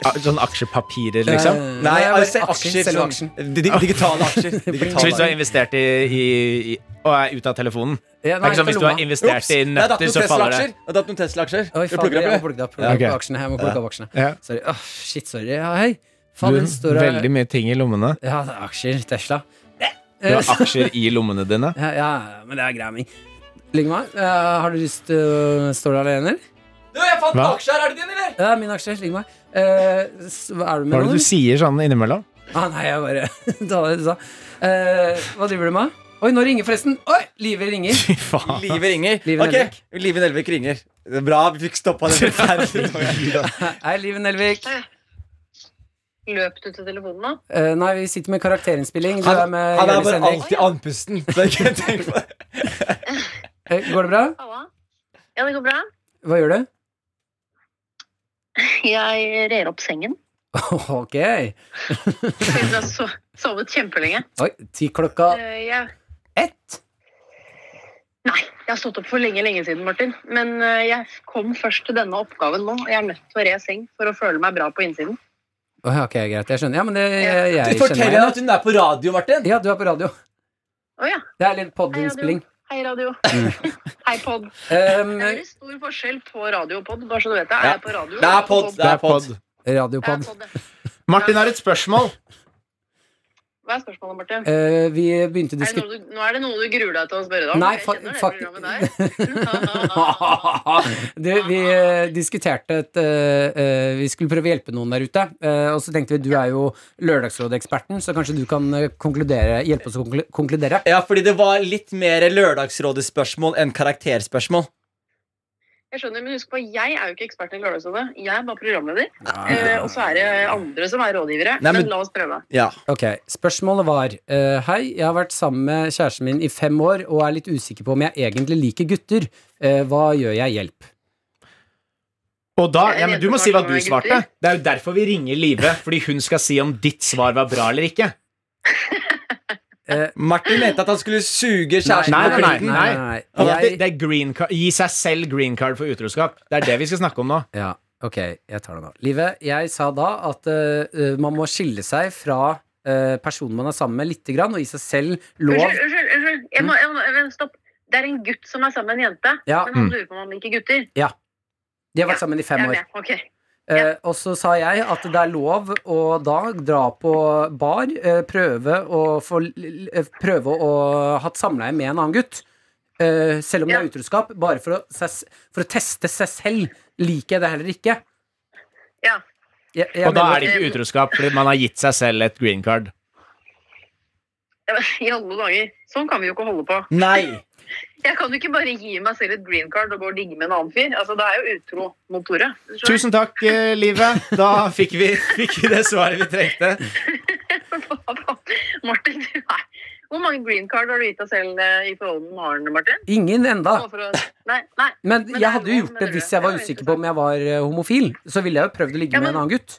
Speaker 3: A- Sånn aksjepapirer, liksom?
Speaker 2: Eh,
Speaker 1: Nei,
Speaker 2: jeg
Speaker 1: altså,
Speaker 2: bare-
Speaker 1: aksjer.
Speaker 2: selve
Speaker 1: sånn-
Speaker 2: aksjen.
Speaker 1: di- di- Digitale aksjer.
Speaker 3: Så hvis du
Speaker 1: Digitale
Speaker 3: har investert i, i, i og er ute av telefonen Det
Speaker 2: Ja,
Speaker 3: er
Speaker 2: nei,
Speaker 3: ikke sånn
Speaker 2: ikke
Speaker 3: hvis du har
Speaker 2: lomma.
Speaker 3: investert i
Speaker 1: Ups, det er datt
Speaker 3: nøtter,
Speaker 1: noen
Speaker 3: så faller det.
Speaker 1: Tesla-aksjer. Det er datt noen Tesla-aksjer.
Speaker 2: Oi,
Speaker 1: Du
Speaker 2: faen,
Speaker 1: plukker
Speaker 2: jeg må
Speaker 1: opp det.
Speaker 2: plukke det opp. Plukke
Speaker 3: Ja,
Speaker 2: opp
Speaker 3: ok.
Speaker 2: aksjene. Jeg må plukke opp aksjene.
Speaker 3: Ja.
Speaker 2: Sorry. Åh, shit, sorry. Ja, hei. Faen, den
Speaker 3: Du,
Speaker 2: står og-
Speaker 3: veldig mye ting i lommene.
Speaker 2: Ja, det er aksjer. Tesla.
Speaker 3: Du har aksjer i lommene dine.
Speaker 2: Ja, ja, men det er greia mi. Ligg med meg. Eh, har du lyst til å Står du alene, eller?
Speaker 1: Du, jeg fant
Speaker 3: Hva?
Speaker 1: aksjer! Er det din, eller?
Speaker 2: Ja, min aksje. Ligg med meg. Eh, s- er du med
Speaker 3: Hva er det
Speaker 2: noen,
Speaker 3: du sier sånn innimellom? (laughs)
Speaker 2: Ah, nei, jeg bare (laughs) Ta det du sa. Eh, hva driver du med? Oi, nå ringer forresten. Oi, livet ringer. (laughs)
Speaker 3: Fy faen.
Speaker 1: Live ringer.
Speaker 2: Liven
Speaker 1: Ok,
Speaker 2: Elvik.
Speaker 1: Liven Elvik ringer. Det er Bra vi fikk stoppa den
Speaker 2: (laughs)
Speaker 1: forferdelige
Speaker 2: Hei, Liven Elvik.
Speaker 5: Løp du til telefonen, da?
Speaker 2: Eh, nei, vi sitter med karakterinnspilling. Du er
Speaker 1: Han
Speaker 2: med
Speaker 1: han er
Speaker 2: Jonis
Speaker 1: bare
Speaker 2: Henrik.
Speaker 1: alltid andpusten. Så jeg kan tenke på det.
Speaker 2: Eh, Går det bra?
Speaker 5: Halla. Ja, det går bra.
Speaker 2: Hva gjør du? (laughs)
Speaker 5: Jeg rer opp sengen.
Speaker 2: Ok.
Speaker 5: (laughs) Jeg har so- sovet kjempelenge.
Speaker 2: Oi, ti klokka
Speaker 5: Eh, Jeg,
Speaker 2: ett.
Speaker 5: nei, jeg har stått opp for lenge, lenge siden, Martin. Men eh, jeg kom først til denne oppgaven nå. og Jeg er nødt til å re seng for å føle meg bra på innsiden.
Speaker 2: Å, ja, ok, greit. Jeg skjønner. Ja, men det, jeg,
Speaker 1: Du
Speaker 2: jeg
Speaker 1: forteller
Speaker 2: kjenner
Speaker 1: henne at hun er på radio, Martin.
Speaker 2: Ja, du er på radio.
Speaker 5: Å ja.
Speaker 2: Det er litt podinnspilling.
Speaker 5: Hei, (laughs) radio. Hei,
Speaker 2: Um,
Speaker 5: pod. Det er veldig stor forskjell på radio og pod, bare så du vet det. Er
Speaker 1: Ja.
Speaker 5: jeg på radio?
Speaker 1: Det er pod.
Speaker 3: Det er pod.
Speaker 5: Jeg er
Speaker 2: Radiopod.
Speaker 5: pod.
Speaker 3: Martin har et spørsmål.
Speaker 5: Hva er spørsmålet, Martin?
Speaker 2: Eh, vi begynte å
Speaker 5: Er det
Speaker 2: diskutere
Speaker 5: noe du, nå er det noe du gruer deg til å spørre deg om?
Speaker 2: Nei,
Speaker 5: Jeg
Speaker 2: fa-
Speaker 5: kjenner det
Speaker 2: fak-
Speaker 5: (laughs) programmet der.
Speaker 2: (laughs) du, vi eh, diskuterte at eh, eh, vi skulle prøve å hjelpe noen der ute. eh, og så tenkte vi du er jo Lørdagsrådeksperten, så kanskje du kan eh, konkludere, hjelpe oss å konklu- konkludere.
Speaker 1: Ja, fordi det var litt mer Lørdagsrådet-spørsmål enn karakterspørsmål.
Speaker 5: Jeg skjønner, men husk på, jeg er jo ikke ekspert i Lørdagsrådet. Jeg er bare programleder. Eh, og så er det andre som er rådgivere.
Speaker 1: Nei, men-
Speaker 5: men... la oss prøve.
Speaker 1: Ja.
Speaker 2: Ok, Spørsmålet var eh, Hei, jeg har vært sammen med kjæresten min i fem år og er litt usikker på om jeg egentlig liker gutter. Eh, hva gjør jeg? Hjelp.
Speaker 3: Og da, ja, men Du må si hva du svarte. Det er jo derfor vi ringer Live. Fordi hun skal si om ditt svar var bra eller ikke.
Speaker 1: Martin mente at han skulle suge kjæresten
Speaker 3: Nei, nei,
Speaker 1: på
Speaker 3: nei,
Speaker 1: klitten.
Speaker 3: nei.
Speaker 2: nei.
Speaker 3: Det,
Speaker 2: Jeg,
Speaker 3: det er green card, Gi seg selv green card for utroskap. Det er det vi skal snakke om nå.
Speaker 2: ja, ok, jeg tar det nå. Live, jeg sa da at eh, eh, man må skille seg fra eh, personen man er sammen med, lite grann, og gi seg selv lov
Speaker 5: Unnskyld, unnskyld. unnskyld. Jeg må, jeg må, vent, stopp. Det er en gutt som er sammen med en jente,
Speaker 2: Ja.
Speaker 5: men han lurer på om han liker gutter.
Speaker 2: De har vært sammen i fem
Speaker 5: Jeg er
Speaker 2: år.
Speaker 5: med. Ok.
Speaker 2: Eh, og så sa jeg at det er lov å da dra på bar, eh, prøve å få l- eh, Prøve å ha et samleie med en annen gutt. Eh, selv om det
Speaker 5: Ja.
Speaker 2: er utroskap. Bare for å, ses- for å teste seg selv. Liker jeg det heller ikke.
Speaker 5: Ja.
Speaker 2: Jeg, jeg
Speaker 3: Og da
Speaker 2: mener-
Speaker 3: er det ikke utroskap, fordi man har gitt seg selv et green card.
Speaker 5: Ja, men I alle dager. Sånn kan vi jo ikke holde på.
Speaker 1: Nei.
Speaker 5: Jeg kan jo ikke bare gi meg selv et green card og gå og ligge med en annen fyr. Altså, Det er jo utro mot Tore. Skjønner du?
Speaker 3: Tusen takk, eh, Live. Da fikk vi, fikk vi det svaret vi trengte.
Speaker 5: (laughs) Hva faen? Martin, du er Hvor mange green card har du gitt deg selv eh, i forhold med Maren, Martin?
Speaker 2: Ingen enda.
Speaker 5: Bare for å... Nei, nei.
Speaker 2: Ah. Men,
Speaker 5: Men det
Speaker 2: jeg
Speaker 5: er
Speaker 2: hadde jo
Speaker 5: lov,
Speaker 2: gjort det
Speaker 5: mener du?
Speaker 2: hvis jeg var
Speaker 5: Det er jo
Speaker 2: usikker på om jeg var eh, homofil. Så ville jeg jo prøvd å ligge
Speaker 5: Ja,
Speaker 2: med
Speaker 5: men-
Speaker 2: en annen gutt.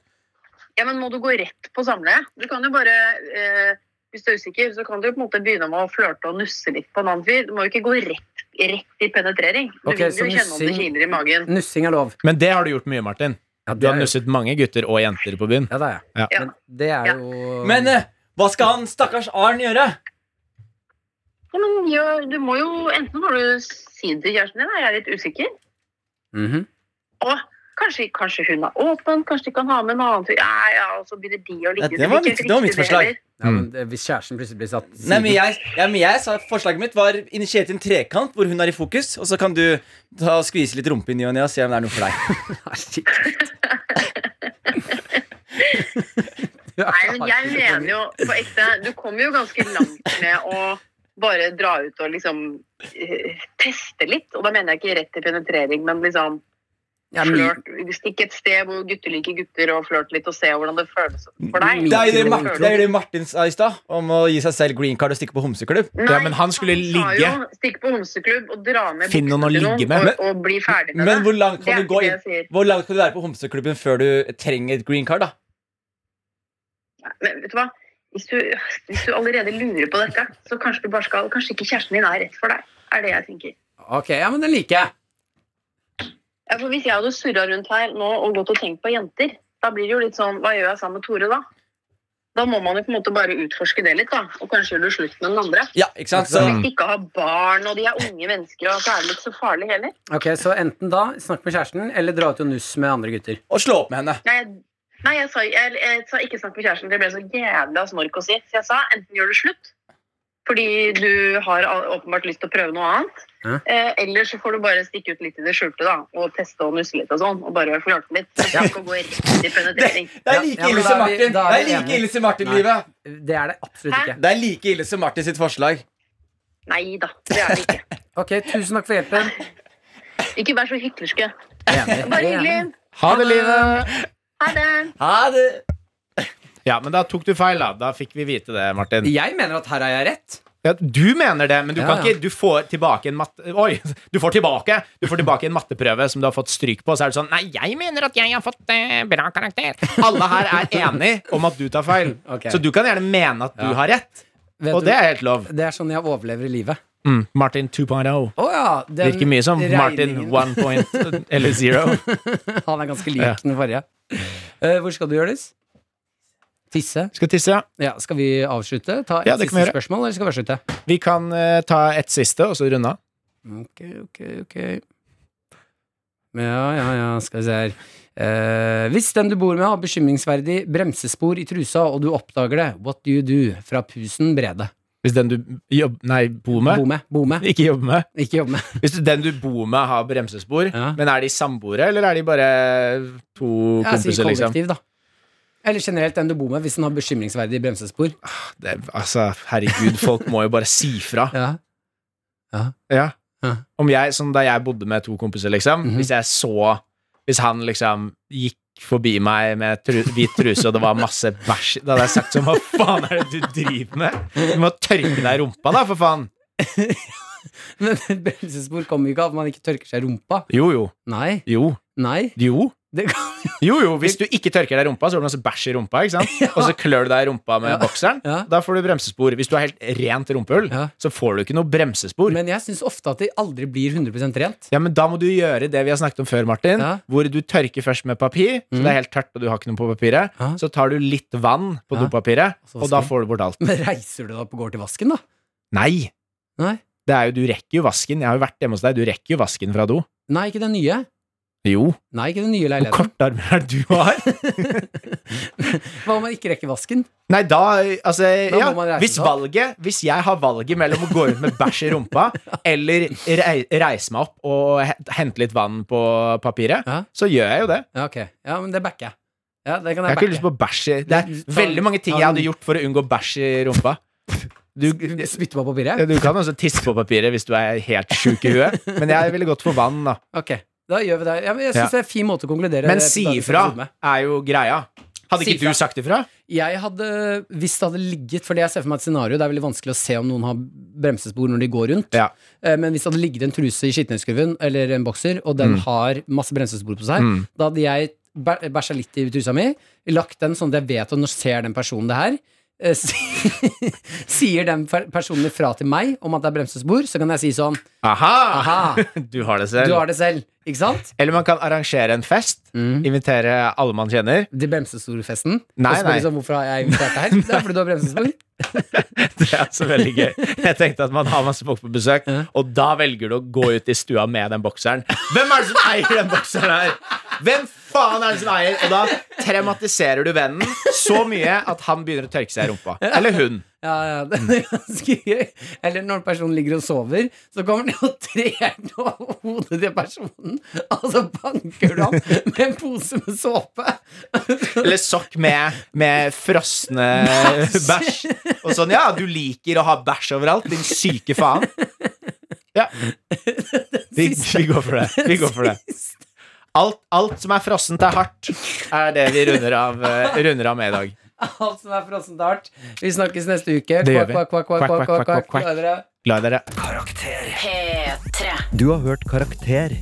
Speaker 5: Ja, men må du gå rett på samleie? Du kan jo bare eh, Hvis du er usikker, så kan du jo på en måte begynne med å flørte og nusse litt på en annen fyr. Du må jo ikke gå rett, rett i penetrering. Du
Speaker 2: Ok, så
Speaker 5: vil jo kjenne om det
Speaker 2: nussing-
Speaker 5: kiler i magen.
Speaker 2: Nussing er lov.
Speaker 3: Men det har du gjort mye, Martin.
Speaker 2: Ja,
Speaker 3: Du
Speaker 2: det
Speaker 3: har
Speaker 2: er,
Speaker 3: nusset mange gutter og jenter på byen.
Speaker 2: ja, det er jeg.
Speaker 5: Ja.
Speaker 2: Men det er
Speaker 5: Ja.
Speaker 2: jo
Speaker 1: Men eh, hva skal han stakkars Arn gjøre?
Speaker 5: Ja, men ja, du må jo Enten må du si det til kjæresten din, «Nei, jeg er litt usikker.
Speaker 2: Mhm.
Speaker 5: Og kanskje, kanskje hun er åpen, kanskje de kan ha med en annen fyr. Ja, ja, og så begynner de å ligge.
Speaker 1: Ja, det var
Speaker 5: er ikke
Speaker 1: mitt- det var mitt
Speaker 5: riktig
Speaker 1: forslag.
Speaker 5: heller.
Speaker 2: Ja, men det- Hvis kjæresten plutselig blir satt
Speaker 1: hmm. Nei, men
Speaker 2: (laughs)
Speaker 1: jeg, ja, men jeg sa Forslaget mitt var initiere til en trekant hvor hun er i fokus, og så kan du ta og skvise litt rumpe i ny og ne og se om det er noe
Speaker 2: (laughs)
Speaker 1: for deg.
Speaker 5: (laughs) Nei, men jeg mener jo på ekte Du kommer jo ganske langt med å bare dra ut og liksom eh, teste litt. Og da mener jeg ikke rett til penetrering, men liksom
Speaker 2: Ja, men-
Speaker 5: flørt. Stikk et sted hvor gutter liker gutter, og flørte litt og se hvordan det føles for deg.
Speaker 1: Det er jo det, Mar-
Speaker 5: Føles-
Speaker 1: det, er jo det Martin sa i stad, om å gi seg selv green card og stikke på homseklubb.
Speaker 3: Ja, men han skulle
Speaker 5: sa
Speaker 3: ligge.
Speaker 5: jo, Stikk på homseklubb og dra med
Speaker 3: Finn noen å
Speaker 5: buksene til
Speaker 3: ligge med.
Speaker 5: Og, og bli ferdig med
Speaker 1: Men hvor langt
Speaker 5: Det
Speaker 1: kan
Speaker 5: er
Speaker 1: du gå
Speaker 5: ikke
Speaker 1: inn?
Speaker 5: det jeg sier.
Speaker 1: Hvor langt kan du være på homseklubben før du trenger et green card? da?
Speaker 5: Men vet du hva? Hvis du, hvis du allerede lurer på dette, så kanskje du bare skal Kanskje ikke kjæresten din er rett for deg, er det jeg tenker.
Speaker 2: Ok, ja, men den liker jeg.
Speaker 5: Ja, for hvis jeg hadde surra rundt her nå og gått og tenkt på jenter, da blir det jo litt sånn Hva gjør jeg sammen med Tore da? Da må man jo på en måte bare utforske det litt, da. Og kanskje gjør du slutt med den andre.
Speaker 1: Ja, ikke sant? Så,
Speaker 5: Så
Speaker 2: Mm.
Speaker 5: hvis de ikke har barn, og de er unge mennesker, og så er det ikke så farlig heller.
Speaker 2: Ok, Så enten da snakk med kjæresten, eller dra ut og nuss med andre gutter.
Speaker 1: og slå opp med henne.
Speaker 5: Nei, jeg- nei jeg, sa, jeg, jeg sa ikke snakk med kjæresten, det ble så jævla snork å si. Så jeg sa enten gjør du slutt, fordi du har a- åpenbart lyst til å prøve noe annet,
Speaker 2: Ja.
Speaker 5: eh, eller så får du bare stikke ut litt i det skjulte da, og teste og nusse litt og sånn, og bare flørte litt. Så du ikke går rett i penetrering.
Speaker 1: Det er
Speaker 2: Ja, ja,
Speaker 1: like
Speaker 2: men
Speaker 1: ille
Speaker 2: da
Speaker 1: som
Speaker 2: er vi-
Speaker 1: Martin
Speaker 2: da er
Speaker 1: Det er
Speaker 2: vi
Speaker 1: like
Speaker 2: enige.
Speaker 1: ille som Martin-livet.
Speaker 2: Det er det absolutt
Speaker 5: Hæ?
Speaker 2: ikke.
Speaker 1: Det er like ille som Martin sitt forslag.
Speaker 5: Nei da, det er det ikke.
Speaker 2: Ok, Tusen takk for hjelpen.
Speaker 5: Ikke vær så hyklerske.
Speaker 2: Enig.
Speaker 5: Bare hyggelig.
Speaker 3: Ha det, Live!
Speaker 5: Ha det.
Speaker 1: Ha det!
Speaker 3: Ja, men da tok du feil, da. Da fikk vi vite det, Martin.
Speaker 2: Jeg mener at her har jeg rett.
Speaker 3: Ja, du mener det, men du
Speaker 2: Ja,
Speaker 3: kan
Speaker 2: ja.
Speaker 3: ikke Du får tilbake en matte... Oi! Du får tilbake Du får tilbake en matteprøve som du har fått stryk på, så er det sånn Nei, jeg mener at jeg har fått eh, bra karakter. Alle her er enig om at du tar feil.
Speaker 2: (laughs) Ok.
Speaker 3: Så du kan gjerne mene at du
Speaker 2: Ja.
Speaker 3: har rett,
Speaker 2: Vet
Speaker 3: og
Speaker 2: du-
Speaker 3: det er helt lov.
Speaker 2: Det er sånn jeg overlever i livet.
Speaker 3: Mm. Martin 2.0.
Speaker 2: Å ja. den
Speaker 3: Virker mye som (laughs) Martin
Speaker 2: regningen- (laughs)
Speaker 3: 1. point, eller 0.
Speaker 2: Han er ganske lik
Speaker 3: Ja.
Speaker 2: den forrige. Eh, hvor skal du, Jonis? Tisse?
Speaker 3: (laughs) Skal tisse, ja.
Speaker 2: Ja, skal vi avslutte? Ta et
Speaker 3: Ja, det kan vi
Speaker 2: siste
Speaker 3: gjøre.
Speaker 2: spørsmål, eller skal vi avslutte?
Speaker 3: Vi kan eh, ta et siste, og så runde av.
Speaker 2: Ok, ok, ok. Ja, ja, ja, skal vi se her. Eh, hvis den du bor med har bekymringsverdig bremsespor i trusa, og du oppdager det, what do you do? Fra Pusen Brede.
Speaker 3: Hvis den du jobb... Nei, bor med.
Speaker 2: Bo med, bo med,
Speaker 3: Ikke jobber med.
Speaker 2: ikke jobbe med.
Speaker 3: Hvis du, den du bor med, har bremsespor,
Speaker 2: Ja.
Speaker 3: men er de samboere, eller er de bare to
Speaker 2: Jeg sier
Speaker 3: kompiser, liksom?
Speaker 2: altså, kollektiv, da. Eller generelt den du bor med, hvis den har bekymringsverdig bremsespor.
Speaker 3: Det, altså, herregud, folk må jo bare si fra.
Speaker 2: Ja. (laughs)
Speaker 3: Ja.
Speaker 2: Ja.
Speaker 3: Om jeg, som da jeg bodde med to kompiser, liksom,
Speaker 2: Mhm.
Speaker 3: hvis jeg så Hvis han liksom gikk forbi meg med tru, hvit truse, og det var masse bæsj, da hadde jeg sagt sånn Hva faen er det du driver med? Du må tørke deg i rumpa, da, for faen!
Speaker 2: Men bremsespor kommer jo ikke av at man ikke tørker seg i rumpa.
Speaker 3: Jo, jo.
Speaker 2: Nei.
Speaker 3: Jo.
Speaker 2: Nei.
Speaker 3: Jo.
Speaker 2: Det kan
Speaker 3: Jo, jo, hvis du ikke tørker deg i rumpa, så har du masse bæsj i rumpa, ikke (laughs) sant? og så klør du deg i rumpa med
Speaker 2: Ja.
Speaker 3: bokseren.
Speaker 2: Ja.
Speaker 3: Da får du bremsespor. Hvis du har helt rent rumpehull,
Speaker 2: Ja.
Speaker 3: så får du ikke noe bremsespor.
Speaker 2: Men jeg syns ofte at det aldri blir 100 rent.
Speaker 3: ja, men Da må du gjøre det vi har snakket om før, Martin.
Speaker 2: Ja.
Speaker 3: Hvor du tørker først med papir, så
Speaker 2: Mm.
Speaker 3: det er helt tørt og du har ikke noe på papiret.
Speaker 2: Ja.
Speaker 3: Så tar du litt vann på
Speaker 2: Ja.
Speaker 3: dopapiret,
Speaker 2: så
Speaker 3: og da
Speaker 2: vasker
Speaker 3: får du bort alt.
Speaker 2: Men reiser du deg opp og går til vasken, da?
Speaker 3: Nei!
Speaker 2: Nei.
Speaker 3: Det er jo, du rekker jo vasken. Jeg har jo vært hjemme hos deg. Du rekker jo vasken fra do.
Speaker 2: Nei, ikke den nye.
Speaker 3: Jo.
Speaker 2: Nei, ikke den nye
Speaker 3: Hvor
Speaker 2: leiligheten.
Speaker 3: korte armer er det du har?
Speaker 2: (laughs) Hva om man ikke rekker vasken?
Speaker 3: Nei, da Altså,
Speaker 2: Da må man
Speaker 3: ja.
Speaker 2: reise
Speaker 3: Hvis
Speaker 2: seg opp.
Speaker 3: valget Hvis jeg har valget mellom å gå rundt med bæsj i rumpa
Speaker 2: (laughs)
Speaker 3: eller rei- reise meg opp og he- hente litt vann på papiret,
Speaker 2: Ja.
Speaker 3: så gjør jeg jo det.
Speaker 2: Ja, ok. Ja, men det backer jeg. Ja,
Speaker 3: Jeg
Speaker 2: det kan jeg,
Speaker 3: har ikke lyst på
Speaker 2: backe.
Speaker 3: bæsj i Det er
Speaker 2: Ta-
Speaker 3: veldig mange ting jeg
Speaker 2: ta den-
Speaker 3: hadde gjort for å unngå bæsj i rumpa. Du, du
Speaker 2: Spytte på papiret?
Speaker 3: kan også tisse på papiret hvis du er helt sjuk i huet, men jeg ville gått for vann, da.
Speaker 2: Ok, da gjør vi det. Ja, men jeg
Speaker 3: Ja.
Speaker 2: syns det er en fin måte å konkludere
Speaker 3: Men
Speaker 2: dagens
Speaker 3: si ifra
Speaker 2: episode med.
Speaker 3: er jo greia. Hadde
Speaker 2: Si
Speaker 3: ikke du
Speaker 2: ifra.
Speaker 3: sagt ifra?
Speaker 2: Jeg hadde, hvis det hadde ligget Fordi jeg ser for meg et scenario Det er veldig vanskelig å se om noen har bremsespor når de går rundt
Speaker 3: Ja.
Speaker 2: Eh, Men hvis det hadde ligget en truse i skittenhøyskurven Eller en bokser Og den har masse bremsespor på seg
Speaker 3: Mm.
Speaker 2: Da hadde jeg bæ- bæsja litt i trusa mi Lagt den sånn at jeg vet at nå ser den personen det her eh, (laughs) si- Sier den per- personen ifra til meg Om at det er bremsespor Så kan jeg si sånn
Speaker 3: Aha!
Speaker 2: Aha,
Speaker 3: (laughs) Du har det
Speaker 2: du
Speaker 3: selv.
Speaker 2: har det selv Ikke sant?
Speaker 3: Eller man kan arrangere en fest.
Speaker 2: Mm.
Speaker 3: Invitere alle man kjenner.
Speaker 2: Til bremsestorfesten
Speaker 3: Nei,
Speaker 2: Og spør
Speaker 3: nei.
Speaker 2: liksom hvorfor har jeg invitert deg her Det er fordi du har bremsespor
Speaker 3: (laughs) Det er altså veldig gøy. Jeg tenkte at man har masse folk på besøk,
Speaker 2: Ja.
Speaker 3: og da velger du å gå ut i stua med den bokseren. Hvem er det som eier den bokseren her? Hvem faen er det som eier? Og da traumatiserer du vennen så mye at han begynner å tørke seg i rumpa. Eller hun.
Speaker 2: Ja, ja, (laughs) det er ganske gøy. Eller når personen ligger og sover, så kommer den og trer over hodet til personen, og så banker du ham med en pose med såpe.
Speaker 3: Eller sokk med, med frosne bæsj. Og sånn, ja, du liker å ha bæsj overalt, din syke faen. Ja. Vi, vi går for det. Vi går for det. Alt, alt som er frossent, er hardt, er det vi runder av, eh, runder av med i dag.
Speaker 2: Alt som er frossent hardt. Vi snakkes neste uke.
Speaker 3: Det gjør vi.
Speaker 2: Kvakk, kvakk, kvakk,
Speaker 3: Kvakk,
Speaker 2: kvakk,
Speaker 3: kvakk, kvakk,
Speaker 2: kvakk, kvakk. kvakk.
Speaker 3: Glad i dere.
Speaker 6: Du har hørt Karakter,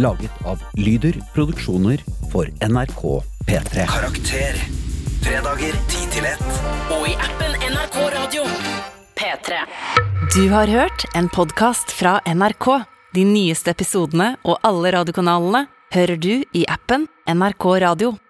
Speaker 6: laget av Lyder Produksjoner for NRK P3.
Speaker 7: Karakter. Fredager 10 til 1.
Speaker 8: Og i appen NRK Radio. P3.
Speaker 9: Du har hørt en podkast fra NRK. De nyeste episodene og alle radiokanalene hører du i appen NRK Radio.